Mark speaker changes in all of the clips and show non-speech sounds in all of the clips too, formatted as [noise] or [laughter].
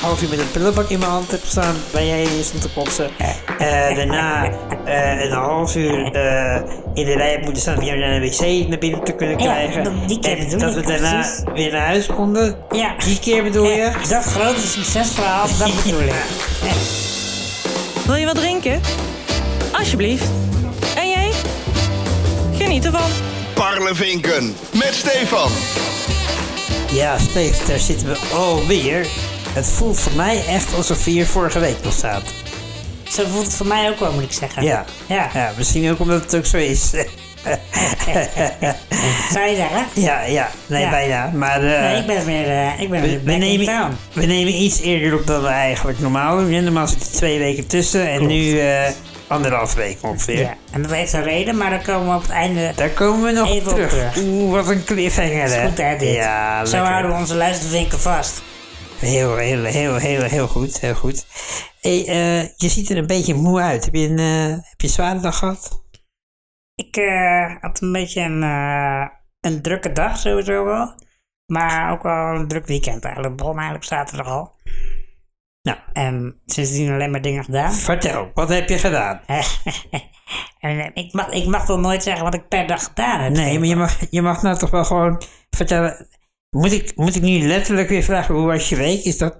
Speaker 1: half uur met een pillen van in mijn hand hebt staan waar jij in stond te kotsen. Eh, daarna eh, een half uur eh, in de rij hebt moeten staan om jou naar de wc naar binnen te kunnen
Speaker 2: Ja,
Speaker 1: krijgen.
Speaker 2: dat- die keer
Speaker 1: en
Speaker 2: bedoel
Speaker 1: dat
Speaker 2: ik
Speaker 1: we daarna
Speaker 2: precies.
Speaker 1: weer naar huis konden.
Speaker 2: Ja.
Speaker 1: Die keer bedoel je?
Speaker 2: Dat grote succesverhaal, dat
Speaker 1: [laughs]
Speaker 2: bedoel ik.
Speaker 3: Wil je wat drinken? Alsjeblieft. En jij? Geniet ervan.
Speaker 4: Parlevinken met Stefan.
Speaker 1: Ja, Steve, daar zitten we alweer. Het voelt voor mij echt alsof we hier vorige week nog zaten.
Speaker 2: Zo voelt het voor mij ook wel, moet ik zeggen.
Speaker 1: Ja.
Speaker 2: Ja.
Speaker 1: ja misschien ook omdat het ook zo is. [laughs]
Speaker 2: Zou je zeggen?
Speaker 1: ja, ja. Nee,
Speaker 2: Ja.
Speaker 1: bijna. Maar eh,
Speaker 2: nee, ik ben weer, eh, ik ben
Speaker 1: we,
Speaker 2: weer
Speaker 1: we
Speaker 2: back in
Speaker 1: nemen,
Speaker 2: town.
Speaker 1: we nemen iets eerder op dan we eigenlijk normaal doen. hè. Normaal zitten twee weken tussen en nu eh, anderhalf week ongeveer.
Speaker 2: Ja. En dat heeft een reden, maar dan komen we op het einde.
Speaker 1: Daar komen we nog
Speaker 2: Even
Speaker 1: op
Speaker 2: op
Speaker 1: terug.
Speaker 2: terug.
Speaker 1: Oeh, wat een cliffhanger
Speaker 2: Dat
Speaker 1: hè.
Speaker 2: is goed, hè, dit.
Speaker 1: Ja,
Speaker 2: Zo
Speaker 1: lekker.
Speaker 2: houden we onze luistervinken vast.
Speaker 1: Heel, heel, heel, heel, heel goed, heel goed. Hey, eh, je ziet er een beetje moe uit. Heb je een, eh, heb je een zware dag gehad?
Speaker 2: Ik eh, had een beetje een, eh, een drukke dag sowieso wel. Maar ook wel een druk weekend eigenlijk. Begon eigenlijk zaterdag al.
Speaker 1: Nou.
Speaker 2: En sindsdien alleen maar dingen gedaan. [laughs]
Speaker 1: Vertel, wat heb je gedaan?
Speaker 2: en eh, ik mag, ik mag wel nooit zeggen wat ik per dag gedaan heb.
Speaker 1: Nee, maar je mag, je mag nou toch wel gewoon vertellen. Moet ik, moet ik nu letterlijk weer vragen hoe was je week? Is dat,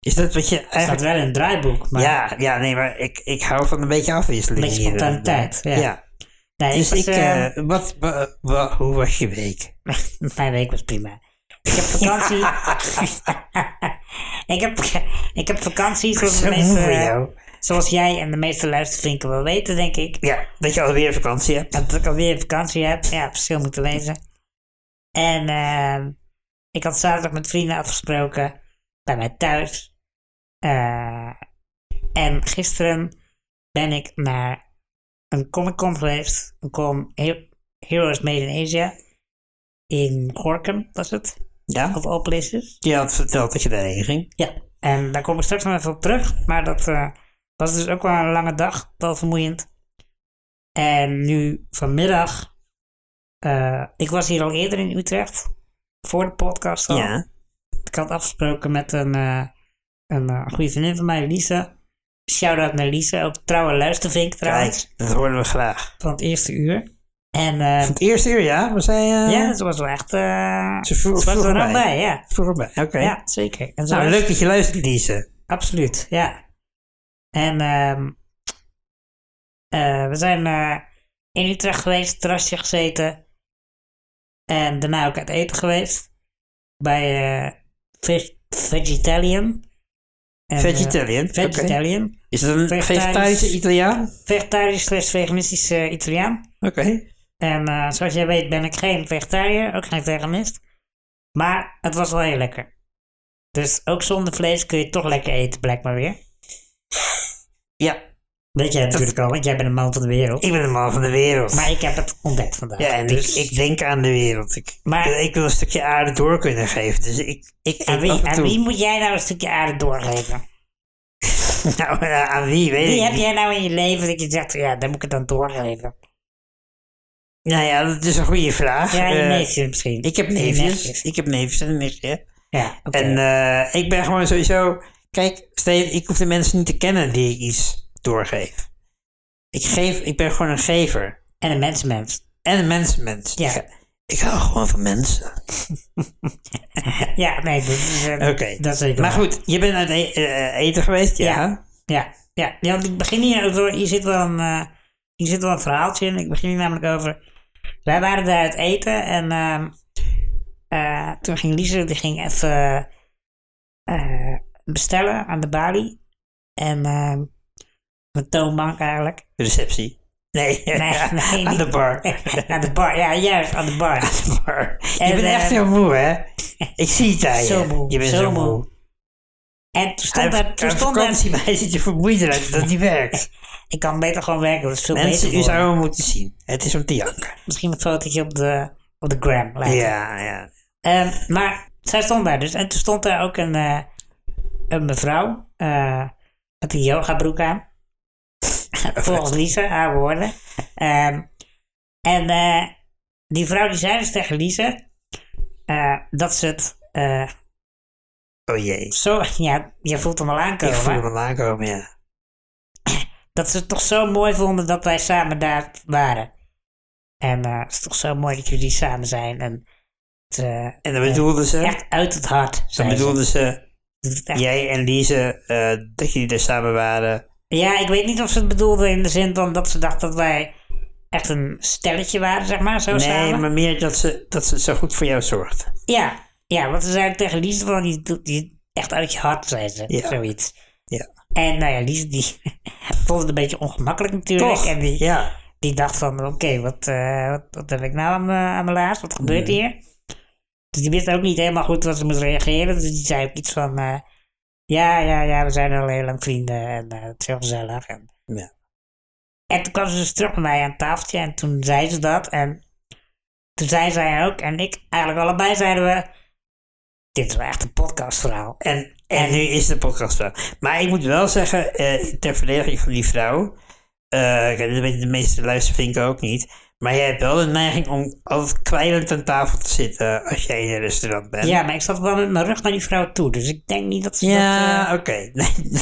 Speaker 1: is dat wat je
Speaker 2: Het staat
Speaker 1: eigenlijk.
Speaker 2: wel in het draaiboek. Maar
Speaker 1: Ja, ja, nee, maar ik, ik hou van een beetje afwisseling.
Speaker 2: Beetje
Speaker 1: hier en daar.
Speaker 2: spontaniteit, ja. nee,
Speaker 1: Dus
Speaker 2: was,
Speaker 1: ik,
Speaker 2: eh,
Speaker 1: eh, wat, wa- wa- hoe was je week?
Speaker 2: [laughs] Mijn week was prima. Ik heb vakantie. [laughs] ik, heb, ik heb vakantie, zoals, de
Speaker 1: Zo moe voor
Speaker 2: meeste,
Speaker 1: jou.
Speaker 2: zoals jij en de meeste luistervinken wel weten, denk ik.
Speaker 1: Ja, dat je alweer vakantie hebt.
Speaker 2: Dat ik alweer vakantie heb. Ja, het verschil moeten wezen. En ehm, ik had zaterdag met vrienden afgesproken. Bij mij thuis. Eh, en gisteren ben ik naar een Comic Con geweest. Een Con He- Heroes Made in Asia. In Gorkum was het.
Speaker 1: Ja?
Speaker 2: Of All Places.
Speaker 1: Je had verteld dat je daarheen ging.
Speaker 2: Ja. En daar kom ik straks nog even op terug. Maar dat eh, was dus ook wel een lange dag. Wel vermoeiend. En nu vanmiddag. eh, ik was hier al eerder in Utrecht. Voor de podcast al.
Speaker 1: Ja.
Speaker 2: Ik had afgesproken met een, eh, een eh, goede vriendin van mij, Lisa. Shout-out naar Lisa. Ook trouwe luistervink trouwens.
Speaker 1: Kijk, dat horen we graag.
Speaker 2: Van het eerste uur. En eh,
Speaker 1: Het eerste uur, ja? We zijn eh
Speaker 2: ja, ze was wel echt... eh
Speaker 1: Ze vro-
Speaker 2: was
Speaker 1: vroeg
Speaker 2: er nog
Speaker 1: mij.
Speaker 2: bij, ja.
Speaker 1: vroeger bij. Oké.
Speaker 2: Ja, zeker. En ze
Speaker 1: Nou,
Speaker 2: was-
Speaker 1: leuk dat je luistert, Lise.
Speaker 2: Absoluut, ja. En ehm, eh, we zijn eh, in Utrecht geweest, terrasje gezeten. En daarna ook uit eten geweest. Bij eh, Veg- Vegetalian. En, eh,
Speaker 1: Vegetarian. oké.
Speaker 2: Vegetalian.
Speaker 1: Is dat een
Speaker 2: Vegetarisch.
Speaker 1: vegetarische Italiaan?
Speaker 2: Vegetarisch slash veganistisch eh, Italiaan.
Speaker 1: Oké.
Speaker 2: En eh, zoals jij weet ben ik geen vegetariër, ook geen veganist. Maar het was wel heel lekker. Dus ook zonder vlees kun je toch lekker eten, blijkbaar weer.
Speaker 1: Ja,
Speaker 2: Weet jij natuurlijk al, want jij bent een man van de wereld.
Speaker 1: ik ben een man van de wereld.
Speaker 2: Maar ik heb het ontdekt vandaag.
Speaker 1: ja, en
Speaker 2: dus
Speaker 1: ik, ik denk aan de wereld. Ik,
Speaker 2: Maar-
Speaker 1: ik wil een stukje aarde door kunnen geven. Dus ik, ik
Speaker 2: aan,
Speaker 1: eet
Speaker 2: wie,
Speaker 1: af en
Speaker 2: aan
Speaker 1: toe-
Speaker 2: wie moet jij nou een stukje aarde doorgeven?
Speaker 1: Nou, eh, aan wie weet
Speaker 2: Wie
Speaker 1: ik
Speaker 2: heb
Speaker 1: niet.
Speaker 2: jij nou in je leven dat je zegt, ja, daar moet ik het dan doorgeven?
Speaker 1: Nou ja, dat is een goede vraag.
Speaker 2: Ja, je
Speaker 1: Eh,
Speaker 2: neefje misschien.
Speaker 1: Ik heb
Speaker 2: Je
Speaker 1: neefjes.
Speaker 2: neefjes.
Speaker 1: Ik heb neefjes en een nichtje.
Speaker 2: Ja, oké.
Speaker 1: En eh, ik ben gewoon sowieso... Kijk, Steve, ik hoef de mensen niet te kennen die ik iets doorgeef. Ik, geef, ik ben gewoon een gever.
Speaker 2: En een mensenmens.
Speaker 1: En een mensenmens.
Speaker 2: Ja.
Speaker 1: Ik, ik hou gewoon van mensen.
Speaker 2: Ja, nee, dat is... eh,
Speaker 1: Oké.
Speaker 2: Dat is zeker
Speaker 1: Maar
Speaker 2: waar.
Speaker 1: goed, je bent uit e- eh, eten geweest, ja.
Speaker 2: Ja. Ja, ja. ja, want ik begin hier over... Hier zit wel een, eh, hier zit wel een verhaaltje in. Ik begin hier namelijk over... Wij waren daar uit eten en... ehm, eh, toen ging Lise, die ging even... eh, bestellen aan de balie. En... ehm een toonbank
Speaker 1: [laughs]
Speaker 2: eigenlijk.
Speaker 1: De receptie. Nee, [laughs]
Speaker 2: Nee, nee,
Speaker 1: aan
Speaker 2: niet.
Speaker 1: de bar.
Speaker 2: [laughs] aan de bar, ja, juist, aan de
Speaker 1: [laughs]
Speaker 2: bar.
Speaker 1: bar. je
Speaker 2: En,
Speaker 1: bent echt
Speaker 2: eh,
Speaker 1: heel moe, hè?
Speaker 2: [laughs]
Speaker 1: Ik zie het aan je.
Speaker 2: Zo moe,
Speaker 1: Je bent
Speaker 2: zo
Speaker 1: zo,
Speaker 2: moe.
Speaker 1: moe.
Speaker 2: En toen
Speaker 1: Hij
Speaker 2: stond daar...
Speaker 1: heeft
Speaker 2: Toen stond daar
Speaker 1: vakantie, maar hij ziet er vermoeid uit dat hij werkt.
Speaker 2: ik kan beter gewoon werken, [laughs] dat is veel
Speaker 1: Mensen, u
Speaker 2: beter voor me.
Speaker 1: zou hem moeten zien. Het is om te janken.
Speaker 2: Misschien een fotootje op de, op de gram laten.
Speaker 1: Ja, ja.
Speaker 2: Ehm, maar zij stond daar dus. En toen stond daar ook een, eh, een mevrouw eh, met een yogabroek aan. [laughs] Volgens Lisa, haar woorden. Ehm, en eh, die vrouw die zei dus tegen Lisa eh, dat ze het eh,
Speaker 1: Oh jee.
Speaker 2: Zo, [laughs] ja, je voelt hem al
Speaker 1: Ik
Speaker 2: aankomen.
Speaker 1: voel hem aankomen, ja.
Speaker 2: dat ze het toch zo mooi vonden dat wij samen daar waren. En eh, het is toch zo mooi dat jullie samen zijn. En het eh,
Speaker 1: En dan bedoelden ze,
Speaker 2: echt uit het hart.
Speaker 1: dan
Speaker 2: zei ze.
Speaker 1: bedoelden ze,
Speaker 2: Het doet echt-
Speaker 1: jij en Lise, eh, dat jullie daar samen waren.
Speaker 2: Ja, ik weet niet of ze het bedoelden in de zin van dat ze dachten dat wij echt een stelletje waren, zeg maar, zo
Speaker 1: Nee,
Speaker 2: samen.
Speaker 1: maar meer dat ze, dat ze zo goed voor jou zorgt.
Speaker 2: Ja, ja, want ze zeiden tegen Lies van, die doet die echt uit je hart, zei ze,
Speaker 1: Ja.
Speaker 2: zoiets.
Speaker 1: Ja.
Speaker 2: En nou ja, Lies die [laughs] vond het een beetje ongemakkelijk natuurlijk.
Speaker 1: Toch?
Speaker 2: En die,
Speaker 1: Ja.
Speaker 2: Die dacht van, oké, wat, eh, wat, wat heb ik nou aan, mijn- aan mijn laars? Wat gebeurt
Speaker 1: Mm.
Speaker 2: hier? Dus die wist ook niet helemaal goed wat ze moest reageren. Dus die zei ook iets van, eh, ja, ja, ja, we zijn al heel lang vrienden en eh, het is heel gezellig. En,
Speaker 1: Ja.
Speaker 2: en toen kwam ze dus terug bij mij aan het tafeltje en toen zei ze dat. En toen zei zij ook, en ik, eigenlijk allebei zeiden we, dit is wel echt een podcastverhaal.
Speaker 1: En, en nu is de podcast wel. Maar ik moet wel zeggen, eh, ter verdediging van die vrouw. eh, kijk, dat weten de meeste luistervinken ook niet. Maar jij hebt wel de neiging om altijd kwijlend aan tafel te zitten als jij in een restaurant bent.
Speaker 2: Ja, maar ik zat wel met mijn rug naar die vrouw toe, dus ik denk niet dat ze
Speaker 1: Ja,
Speaker 2: dat... eh,
Speaker 1: Ah, oké. [laughs] Nee,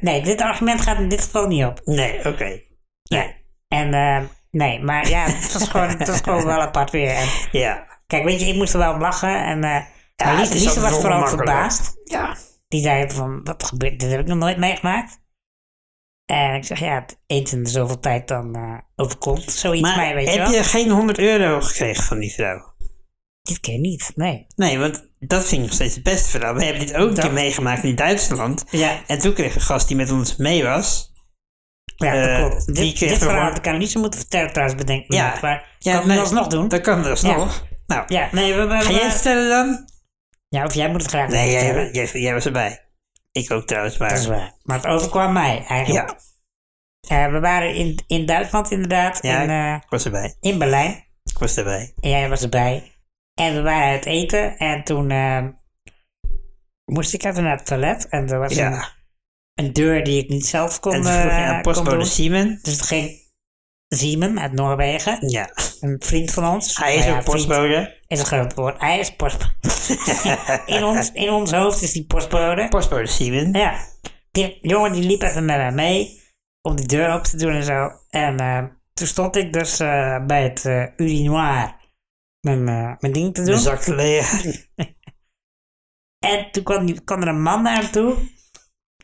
Speaker 2: nee, dit argument gaat in dit geval niet op.
Speaker 1: nee oké.
Speaker 2: Ja. En eh, nee, maar ja, het was, gewoon, het was gewoon wel apart weer. En,
Speaker 1: Ja.
Speaker 2: kijk, weet je, ik moest er wel om lachen. En eh maar Lies,
Speaker 1: het is
Speaker 2: Lies
Speaker 1: altijd
Speaker 2: was vooral
Speaker 1: ongemakkelijk.
Speaker 2: verbaasd.
Speaker 1: Ja.
Speaker 2: Die zei van, wat gebeurt, dit heb ik nog nooit meegemaakt. En ik zeg, ja, het eens in de zoveel tijd dan eh, overkomt zoiets
Speaker 1: Maar
Speaker 2: mij, weet je
Speaker 1: heb
Speaker 2: wel.
Speaker 1: je geen 100 euro gekregen van die vrouw?
Speaker 2: Dit keer niet, nee.
Speaker 1: Nee, want dat vind ik nog steeds het beste verhaal. We hebben dit ook een
Speaker 2: Toch?
Speaker 1: keer meegemaakt in Duitsland.
Speaker 2: Ja,
Speaker 1: En toen kreeg een gast die met ons mee was.
Speaker 2: ja dat
Speaker 1: Eh,
Speaker 2: klopt.
Speaker 1: die
Speaker 2: Dit,
Speaker 1: kreeg
Speaker 2: dit
Speaker 1: er
Speaker 2: verhaal
Speaker 1: gewoon-
Speaker 2: had ik aan Lies moeten vertellen trouwens, bedenk me.
Speaker 1: Ja.
Speaker 2: net, Maar
Speaker 1: Ja,
Speaker 2: kan
Speaker 1: nee.
Speaker 2: nee. alsnog doen.
Speaker 1: Dat kan dus
Speaker 2: Ja.
Speaker 1: nog. Nou,
Speaker 2: Ja, nee, we, we,
Speaker 1: ga jij het
Speaker 2: we,
Speaker 1: vertellen dan?
Speaker 2: ja, of jij moet het graag
Speaker 1: Nee, jij,
Speaker 2: vertellen.
Speaker 1: jij, jij was erbij. Ik ook trouwens, maar...
Speaker 2: Dat is waar. Maar het overkwam mij eigenlijk.
Speaker 1: ja,
Speaker 2: Eh, we waren in, in Duitsland inderdaad,
Speaker 1: Ja.
Speaker 2: en, eh,
Speaker 1: ik was erbij.
Speaker 2: in Berlijn.
Speaker 1: Ik was erbij.
Speaker 2: En jij was erbij. En we waren uit eten en toen eh, moest ik even naar het toilet. En er was een,
Speaker 1: Ja.
Speaker 2: een deur die ik niet zelf kon,
Speaker 1: En toen vroeg je
Speaker 2: eh,
Speaker 1: aan
Speaker 2: kon
Speaker 1: postbode
Speaker 2: doen.
Speaker 1: Simon.
Speaker 2: Dus toen ging Simon uit Noorwegen,
Speaker 1: Ja,
Speaker 2: een vriend van ons.
Speaker 1: hij is
Speaker 2: Nou ja,
Speaker 1: ook
Speaker 2: vriend
Speaker 1: postbode.
Speaker 2: Is een groot woord. Hij is postbode.
Speaker 1: [laughs]
Speaker 2: in, ons, in ons hoofd is die postbode. Nou
Speaker 1: Postbode Simon.
Speaker 2: Ja, die jongen die liep even met mij mee om die deur op te doen en zo. En eh, toen stond ik dus eh, bij het eh, urinoir mijn, eh, mijn ding te doen. Mm.
Speaker 1: Mijn zak leeg.
Speaker 2: En toen kwam, die- kwam er een man naar hem toe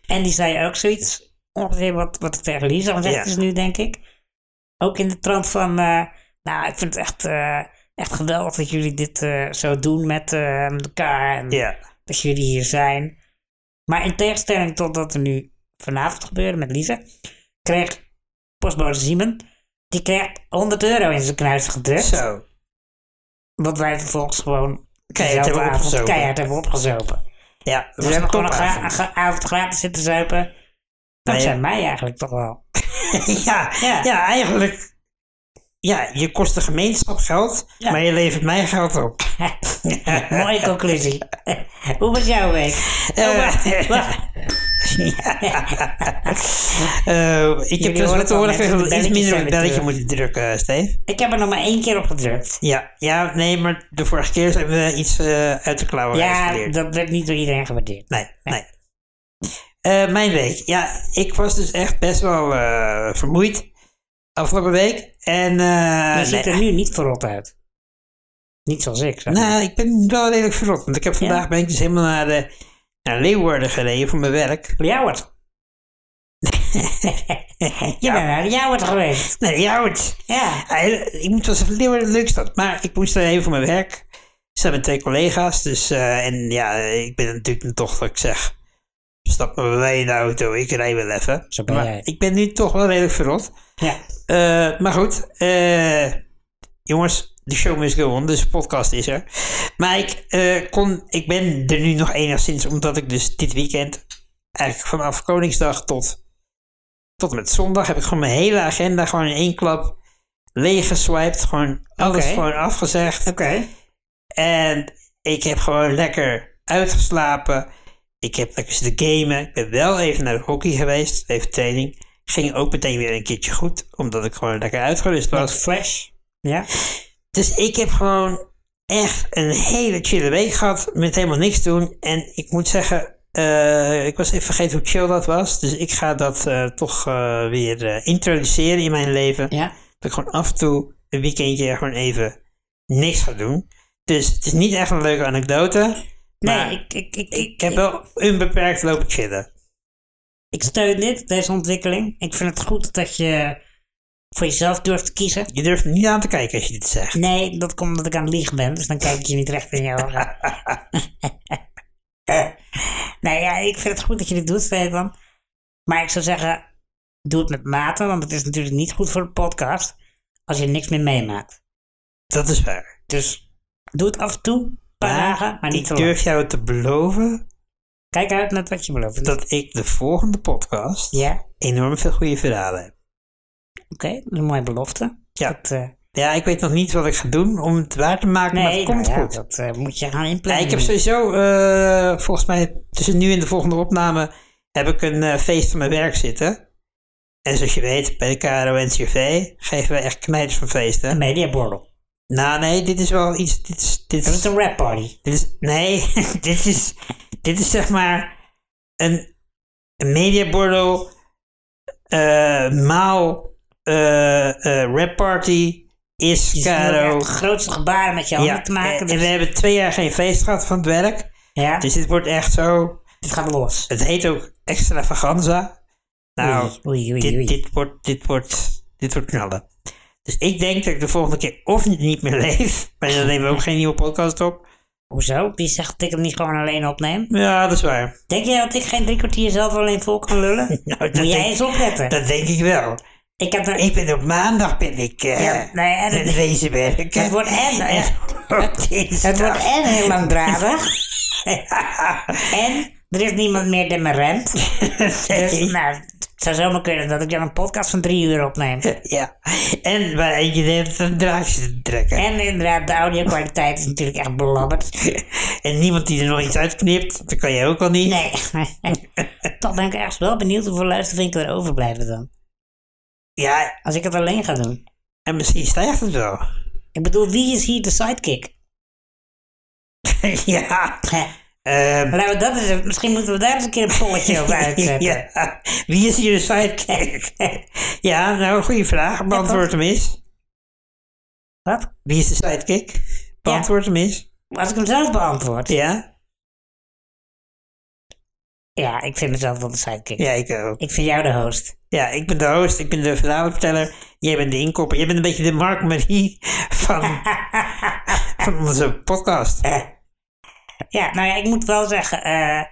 Speaker 2: en die zei ook zoiets, ongeveer wat, wat ik tegen Lisa gezegd
Speaker 1: Ja.
Speaker 2: is nu, denk ik. Ook in de trant van, eh, nou, ik vind het echt, eh, echt geweldig dat jullie dit eh, zo doen met eh, met elkaar. En,
Speaker 1: Ja.
Speaker 2: dat jullie hier zijn. Maar in tegenstelling tot wat er nu vanavond gebeurde met Lisa, kreeg postbode Simon, die kreeg 100 euro in zijn knuis gedrukt.
Speaker 1: Zo.
Speaker 2: Wat wij vervolgens gewoon
Speaker 1: Keihard
Speaker 2: diezelfde
Speaker 1: hebben
Speaker 2: avond
Speaker 1: opgezopen.
Speaker 2: keihard hebben opgezopen.
Speaker 1: Ja,
Speaker 2: Dus we hebben gewoon een gra- een gra- avond gratis zitten zuipen. Dat
Speaker 1: Nee.
Speaker 2: zijn mij eigenlijk toch wel. [laughs]
Speaker 1: [laughs] ja, ja.
Speaker 2: Ja.
Speaker 1: eigenlijk. Ja, je kost de gemeenschap geld,
Speaker 2: Ja. Oh,
Speaker 1: maar je levert mij geld op.
Speaker 2: Mooie conclusie. [laughs] Hoe was jouw week?
Speaker 1: Eh,
Speaker 2: oh,
Speaker 1: [laughs]
Speaker 2: wacht, wacht.
Speaker 1: Eh, ik heb
Speaker 2: Jullie
Speaker 1: dus
Speaker 2: horen
Speaker 1: wat te
Speaker 2: al
Speaker 1: horen
Speaker 2: mensen
Speaker 1: gekregen dat
Speaker 2: de
Speaker 1: we iets
Speaker 2: belletjes
Speaker 1: minder op het
Speaker 2: zijn weer
Speaker 1: belletje
Speaker 2: terug.
Speaker 1: moeten drukken, Steve.
Speaker 2: [laughs] Ik heb er nog maar één keer op gedrukt.
Speaker 1: Ja, ja, nee, maar de vorige keer zijn we iets eh, uit de klauwen
Speaker 2: Ja,
Speaker 1: geleerd.
Speaker 2: dat werd niet door iedereen gewaardeerd.
Speaker 1: Nee, nee. Eh, mijn week. Ja, ik was dus echt best wel eh, vermoeid afgelopen week. En, eh,
Speaker 2: Je
Speaker 1: nee,
Speaker 2: ziet er nu niet verrot uit. Niet zoals ik, zeg. maar.
Speaker 1: Nou, ik ben wel redelijk verrot. Want ik heb vandaag
Speaker 2: Ja?
Speaker 1: ben ik dus helemaal naar, de, naar Leeuwarden gereden voor mijn werk.
Speaker 2: Ljouwert. [laughs] je bent naar Ljouwert geweest.
Speaker 1: Nee, ja, het.
Speaker 2: Ja.
Speaker 1: Hij- Ik moet wel zeggen, Leeuwarden leuk stad. Maar ik moest er even voor mijn werk. Ik zat met twee collega's. Dus, eh, en ja, ik ben natuurlijk toch dat ik zeg. Stap maar bij mij in de auto, ik rij wel even.
Speaker 2: Zo ben
Speaker 1: Maar
Speaker 2: jij.
Speaker 1: Ik ben nu toch wel redelijk verrot.
Speaker 2: ja.
Speaker 1: Eh, maar goed, eh, jongens, de show must go on, dus de podcast is er. Maar ik, eh, kon, ik ben er nu nog enigszins, omdat ik dus dit weekend, eigenlijk vanaf Koningsdag tot, tot en met zondag, heb ik gewoon mijn hele agenda gewoon in één klap leeggeswiped. Gewoon alles
Speaker 2: Oké.
Speaker 1: gewoon afgezegd.
Speaker 2: Oké.
Speaker 1: En ik heb gewoon lekker uitgeslapen. Ik heb lekker zitten gamen. Ik ben wel even naar de hockey geweest, even training. Ging ook meteen weer een keertje goed, omdat ik gewoon lekker uitgerust was.
Speaker 2: Flash. Ja.
Speaker 1: Dus ik heb gewoon echt een hele chille week gehad met helemaal niks doen. En ik moet zeggen, eh, ik was even vergeten hoe chill dat was. Dus ik ga dat eh, toch eh, weer eh, introduceren in mijn leven.
Speaker 2: Ja?
Speaker 1: Dat ik gewoon af en toe een weekendje gewoon even niks ga doen. Dus het is niet echt een leuke anekdote.
Speaker 2: Nee,
Speaker 1: Maar
Speaker 2: ik, ik, ik,
Speaker 1: Ik heb wel onbeperkt lopen chillen.
Speaker 2: ik steun dit, deze ontwikkeling. Ik vind het goed dat je voor jezelf durft te kiezen.
Speaker 1: Je durft er niet aan te kijken als je dit zegt.
Speaker 2: Nee, dat komt omdat ik aan het liegen ben, dus dan kijk ik je niet recht in jouw ogen. [laughs] nee, ja, ik vind het goed dat je dit doet, Stefan. Maar ik zou zeggen, doe het met mate, want het is natuurlijk niet goed voor de podcast als je niks meer meemaakt.
Speaker 1: Dat is waar.
Speaker 2: Dus doe het af en toe, een paar dagen, maar niet te
Speaker 1: ik
Speaker 2: lang.
Speaker 1: durf jou te beloven
Speaker 2: Kijk uit met wat je belooft.
Speaker 1: dat ik de volgende podcast
Speaker 2: Ja, oké,
Speaker 1: enorm veel goede verhalen heb.
Speaker 2: dat is een mooie belofte.
Speaker 1: Ja.
Speaker 2: Dat, eh,
Speaker 1: Ja, ik weet nog niet wat ik ga doen om het waar te maken, maar
Speaker 2: nee,
Speaker 1: het komt
Speaker 2: nou ja,
Speaker 1: goed.
Speaker 2: dat eh, moet je gaan
Speaker 1: Ja,
Speaker 2: inplannen.
Speaker 1: ik heb sowieso, eh, volgens mij tussen nu en de volgende opname, heb ik een eh, feest van mijn werk zitten. En zoals je weet, bij de KRO-NCRV geven we echt knijters van feesten.
Speaker 2: Een mediaborrel.
Speaker 1: Nou nee, dit is wel iets, dit is, dit
Speaker 2: Dat is
Speaker 1: is,
Speaker 2: een rap party.
Speaker 1: dit is nee, [laughs] dit is, dit is zeg maar een, een mediaborrel, eh, maal, eh eh, rap party is
Speaker 2: Je hebt
Speaker 1: KRO.
Speaker 2: het grootste gebaren met je handen
Speaker 1: Ja, eh,
Speaker 2: te maken.
Speaker 1: en, en
Speaker 2: dus-
Speaker 1: we hebben twee jaar geen feest gehad van het werk.
Speaker 2: ja,
Speaker 1: Dus dit wordt echt zo
Speaker 2: het gaat los.
Speaker 1: Het heet ook extravaganza. Nou,
Speaker 2: oei, oei, oei.
Speaker 1: dit, dit, wordt, dit, wordt, dit wordt knallen. Dus ik denk dat ik de volgende keer of niet meer leef. [laughs] Maar dan nemen we ook geen nieuwe podcast op.
Speaker 2: Hoezo? Wie zegt dat ik het niet gewoon alleen opneem?
Speaker 1: Ja, dat is waar.
Speaker 2: Denk jij dat ik geen drie kwartier zelf alleen vol kan lullen?
Speaker 1: [laughs] Nou, dat,
Speaker 2: Moet jij
Speaker 1: denk,
Speaker 2: eens opletten.
Speaker 1: dat denk ik wel.
Speaker 2: ik heb er...
Speaker 1: Ik ben op maandag ben ik eh
Speaker 2: Ja, nee, en het-
Speaker 1: met wezen werken.
Speaker 2: het wordt en...
Speaker 1: En [laughs] op dinsdag.
Speaker 2: Het wordt en heel langdradig.
Speaker 1: [laughs]
Speaker 2: en er is niemand meer die me
Speaker 1: [laughs]
Speaker 2: remt. Dus, nou, het zou zomaar kunnen dat ik dan een podcast van drie uur opneem.
Speaker 1: Ja. En waar eentje heeft een draadje te trekken.
Speaker 2: En inderdaad, de audio-kwaliteit is natuurlijk echt belabberd.
Speaker 1: [laughs] En niemand die er nog iets uitknipt. Dat kan jij ook al niet.
Speaker 2: Nee. [laughs] Toch ben ik ergens wel benieuwd hoeveel luistervinken er overblijven dan.
Speaker 1: Ja,
Speaker 2: Als ik het alleen ga doen.
Speaker 1: en misschien stijgt het wel. [laughs]
Speaker 2: Ik bedoel, wie is hier de sidekick?
Speaker 1: ja. ehm,
Speaker 2: Laten we dat eens, misschien moeten we daar eens een keer een
Speaker 1: [laughs]
Speaker 2: polletje [laughs] over uitzetten.
Speaker 1: ja. Wie is hier de sidekick? [laughs] ja, nou, goede vraag. Beantwoord hem eens.
Speaker 2: Wat?
Speaker 1: Wie is de sidekick? Beantwoord hem eens.
Speaker 2: Als ik hem zelf beantwoord.
Speaker 1: Ja?
Speaker 2: Ja, ik vind mezelf wel de sidekick.
Speaker 1: Ja, ik ook.
Speaker 2: Ik vind jou de host.
Speaker 1: Ja, ik ben de host, ik ben de verhalenverteller. Jij bent de inkopper. Jij bent een beetje de Mark Marie [laughs]
Speaker 2: [laughs]
Speaker 1: van, van onze podcast.
Speaker 2: Ja, nou ja, ik moet wel zeggen, eh,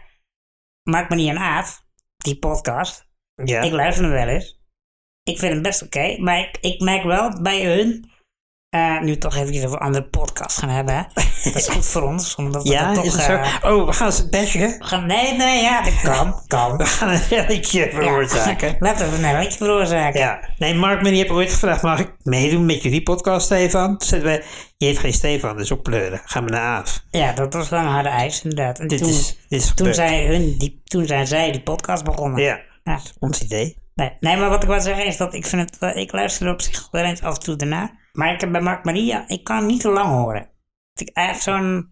Speaker 2: maak me niet een aaf, die podcast.
Speaker 1: Ja.
Speaker 2: Ik luister hem wel eens. Ik vind hem best oké, maar ik, ik merk wel bij hun, eh, nu we toch even over andere podcasts gaan
Speaker 1: [laughs]
Speaker 2: hebben, hè. dat is goed voor ons, omdat we
Speaker 1: ja,
Speaker 2: dat toch...
Speaker 1: is het
Speaker 2: eh,
Speaker 1: zo? Oh, we gaan ze bashen.
Speaker 2: gaan, nee, nee, ja, dat kan,
Speaker 1: [laughs]
Speaker 2: kan.
Speaker 1: We gaan een relletje veroorzaken.
Speaker 2: [laughs] Ja, laten we een beetje veroorzaken.
Speaker 1: Ja, nee, Mark Marie heeft ooit gevraagd: mag ik meedoen met jullie podcast, Stefan? Toen zeiden wij: Je heeft geen Stefan, dus oppleuren. Ga maar naar Aaf.
Speaker 2: Ja, dat was wel een harde eis, inderdaad. En
Speaker 1: Dit
Speaker 2: toen,
Speaker 1: is, dit is
Speaker 2: toen,
Speaker 1: gebeurd.
Speaker 2: zijn hun die, toen zijn zij die podcast begonnen.
Speaker 1: Ja,
Speaker 2: Ja.
Speaker 1: ons idee.
Speaker 2: Nee, nee, maar wat ik wil zeggen is dat ik vind het, eh, ik luister er op zich wel eens af en toe daarna. Maar ik heb bij Mark Maria, ik kan hem niet te lang horen. Dat ik echt zo'n,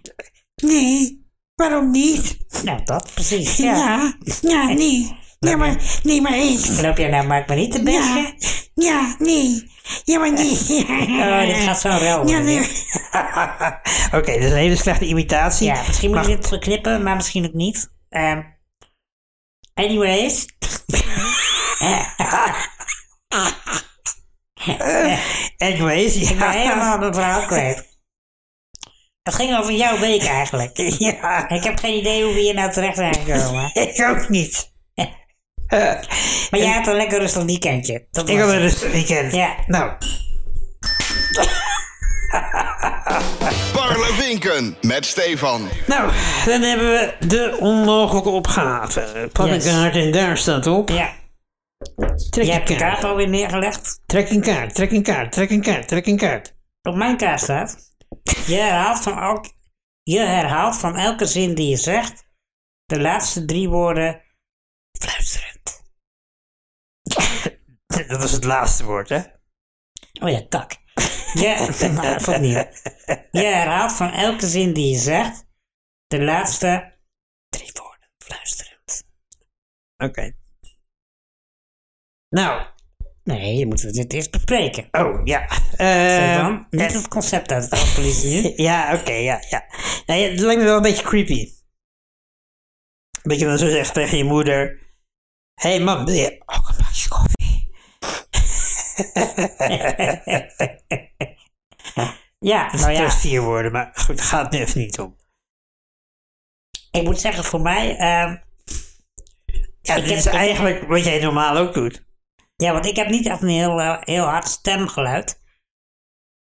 Speaker 1: Nee, waarom niet?
Speaker 2: nou dat precies,
Speaker 1: Ja,
Speaker 2: ja.
Speaker 1: ja, nee. Ja, maar, nee, maar eens.
Speaker 2: Loop jij naar Mark Maria te
Speaker 1: Ja,
Speaker 2: bestje?
Speaker 1: ja, nee. Ja, maar nee.
Speaker 2: Oh, dit gaat zo wel.
Speaker 1: Ja, nee. Oké, dat is een hele slechte imitatie.
Speaker 2: ja, misschien moet
Speaker 1: maar,
Speaker 2: ik dit verknippen, maar misschien ook niet. Ehm, anyways.
Speaker 1: Anyways,
Speaker 2: Ik
Speaker 1: [laughs]
Speaker 2: ben
Speaker 1: ja.
Speaker 2: helemaal mijn verhaal kwijt. Het ging over jouw week eigenlijk.
Speaker 1: [laughs] Ja,
Speaker 2: Ik heb geen idee hoe we hier nou terecht zijn
Speaker 1: [laughs]
Speaker 2: gekomen.
Speaker 1: ik ook niet.
Speaker 2: [laughs] Maar jij had een lekker rustig weekendje. Dat
Speaker 1: Ik
Speaker 2: was
Speaker 1: had
Speaker 2: het.
Speaker 1: een rustig weekend.
Speaker 2: Ja.
Speaker 1: Nou,
Speaker 4: Parlevinken met Stefan.
Speaker 1: Nou, dan hebben we de onmogelijke opgave. Pak
Speaker 2: Yes.
Speaker 1: een kaart en daar staat op.
Speaker 2: Ja,
Speaker 1: Trek
Speaker 2: jij
Speaker 1: een
Speaker 2: hebt de kaart
Speaker 1: kaart.
Speaker 2: alweer neergelegd.
Speaker 1: Trek een kaart, trek een kaart, trek een kaart, trek een kaart. [laughs]
Speaker 2: Op mijn kaart staat. Je herhaalt van, elk, je herhaalt van elke zin die je zegt. De laatste drie woorden. Fluisterend.
Speaker 1: Dat was het laatste woord, hè?
Speaker 2: Oh ja, kak. Ja, [laughs] maar even opnieuw. Je herhaalt van elke zin die je zegt de laatste drie woorden fluisterend.
Speaker 1: Oké. Nou,
Speaker 2: Nee, je moet dit eerst bespreken.
Speaker 1: oh ja.
Speaker 2: Zo
Speaker 1: Ehm,
Speaker 2: dan niet het concept uit het hoofd
Speaker 1: [laughs]
Speaker 2: verliezen nu.
Speaker 1: Eh, Ja, oké, ja, ja. Nou, ja, Het lijkt me wel een beetje creepy. Dat je dan zo zegt tegen je moeder... Hé hey, mam, wil je ook een bakje koffie?
Speaker 2: Ja,
Speaker 1: Het dus- zijn
Speaker 2: nou ja.
Speaker 1: trouwens vier woorden, maar goed, daar gaat het nu even niet om.
Speaker 2: Ik moet zeggen, voor mij... ehm,
Speaker 1: Ja,
Speaker 2: Ik
Speaker 1: dit
Speaker 2: heb-
Speaker 1: is
Speaker 2: ik-
Speaker 1: eigenlijk wat jij normaal ook doet.
Speaker 2: ja, want ik heb niet echt een heel, eh, heel hard stemgeluid.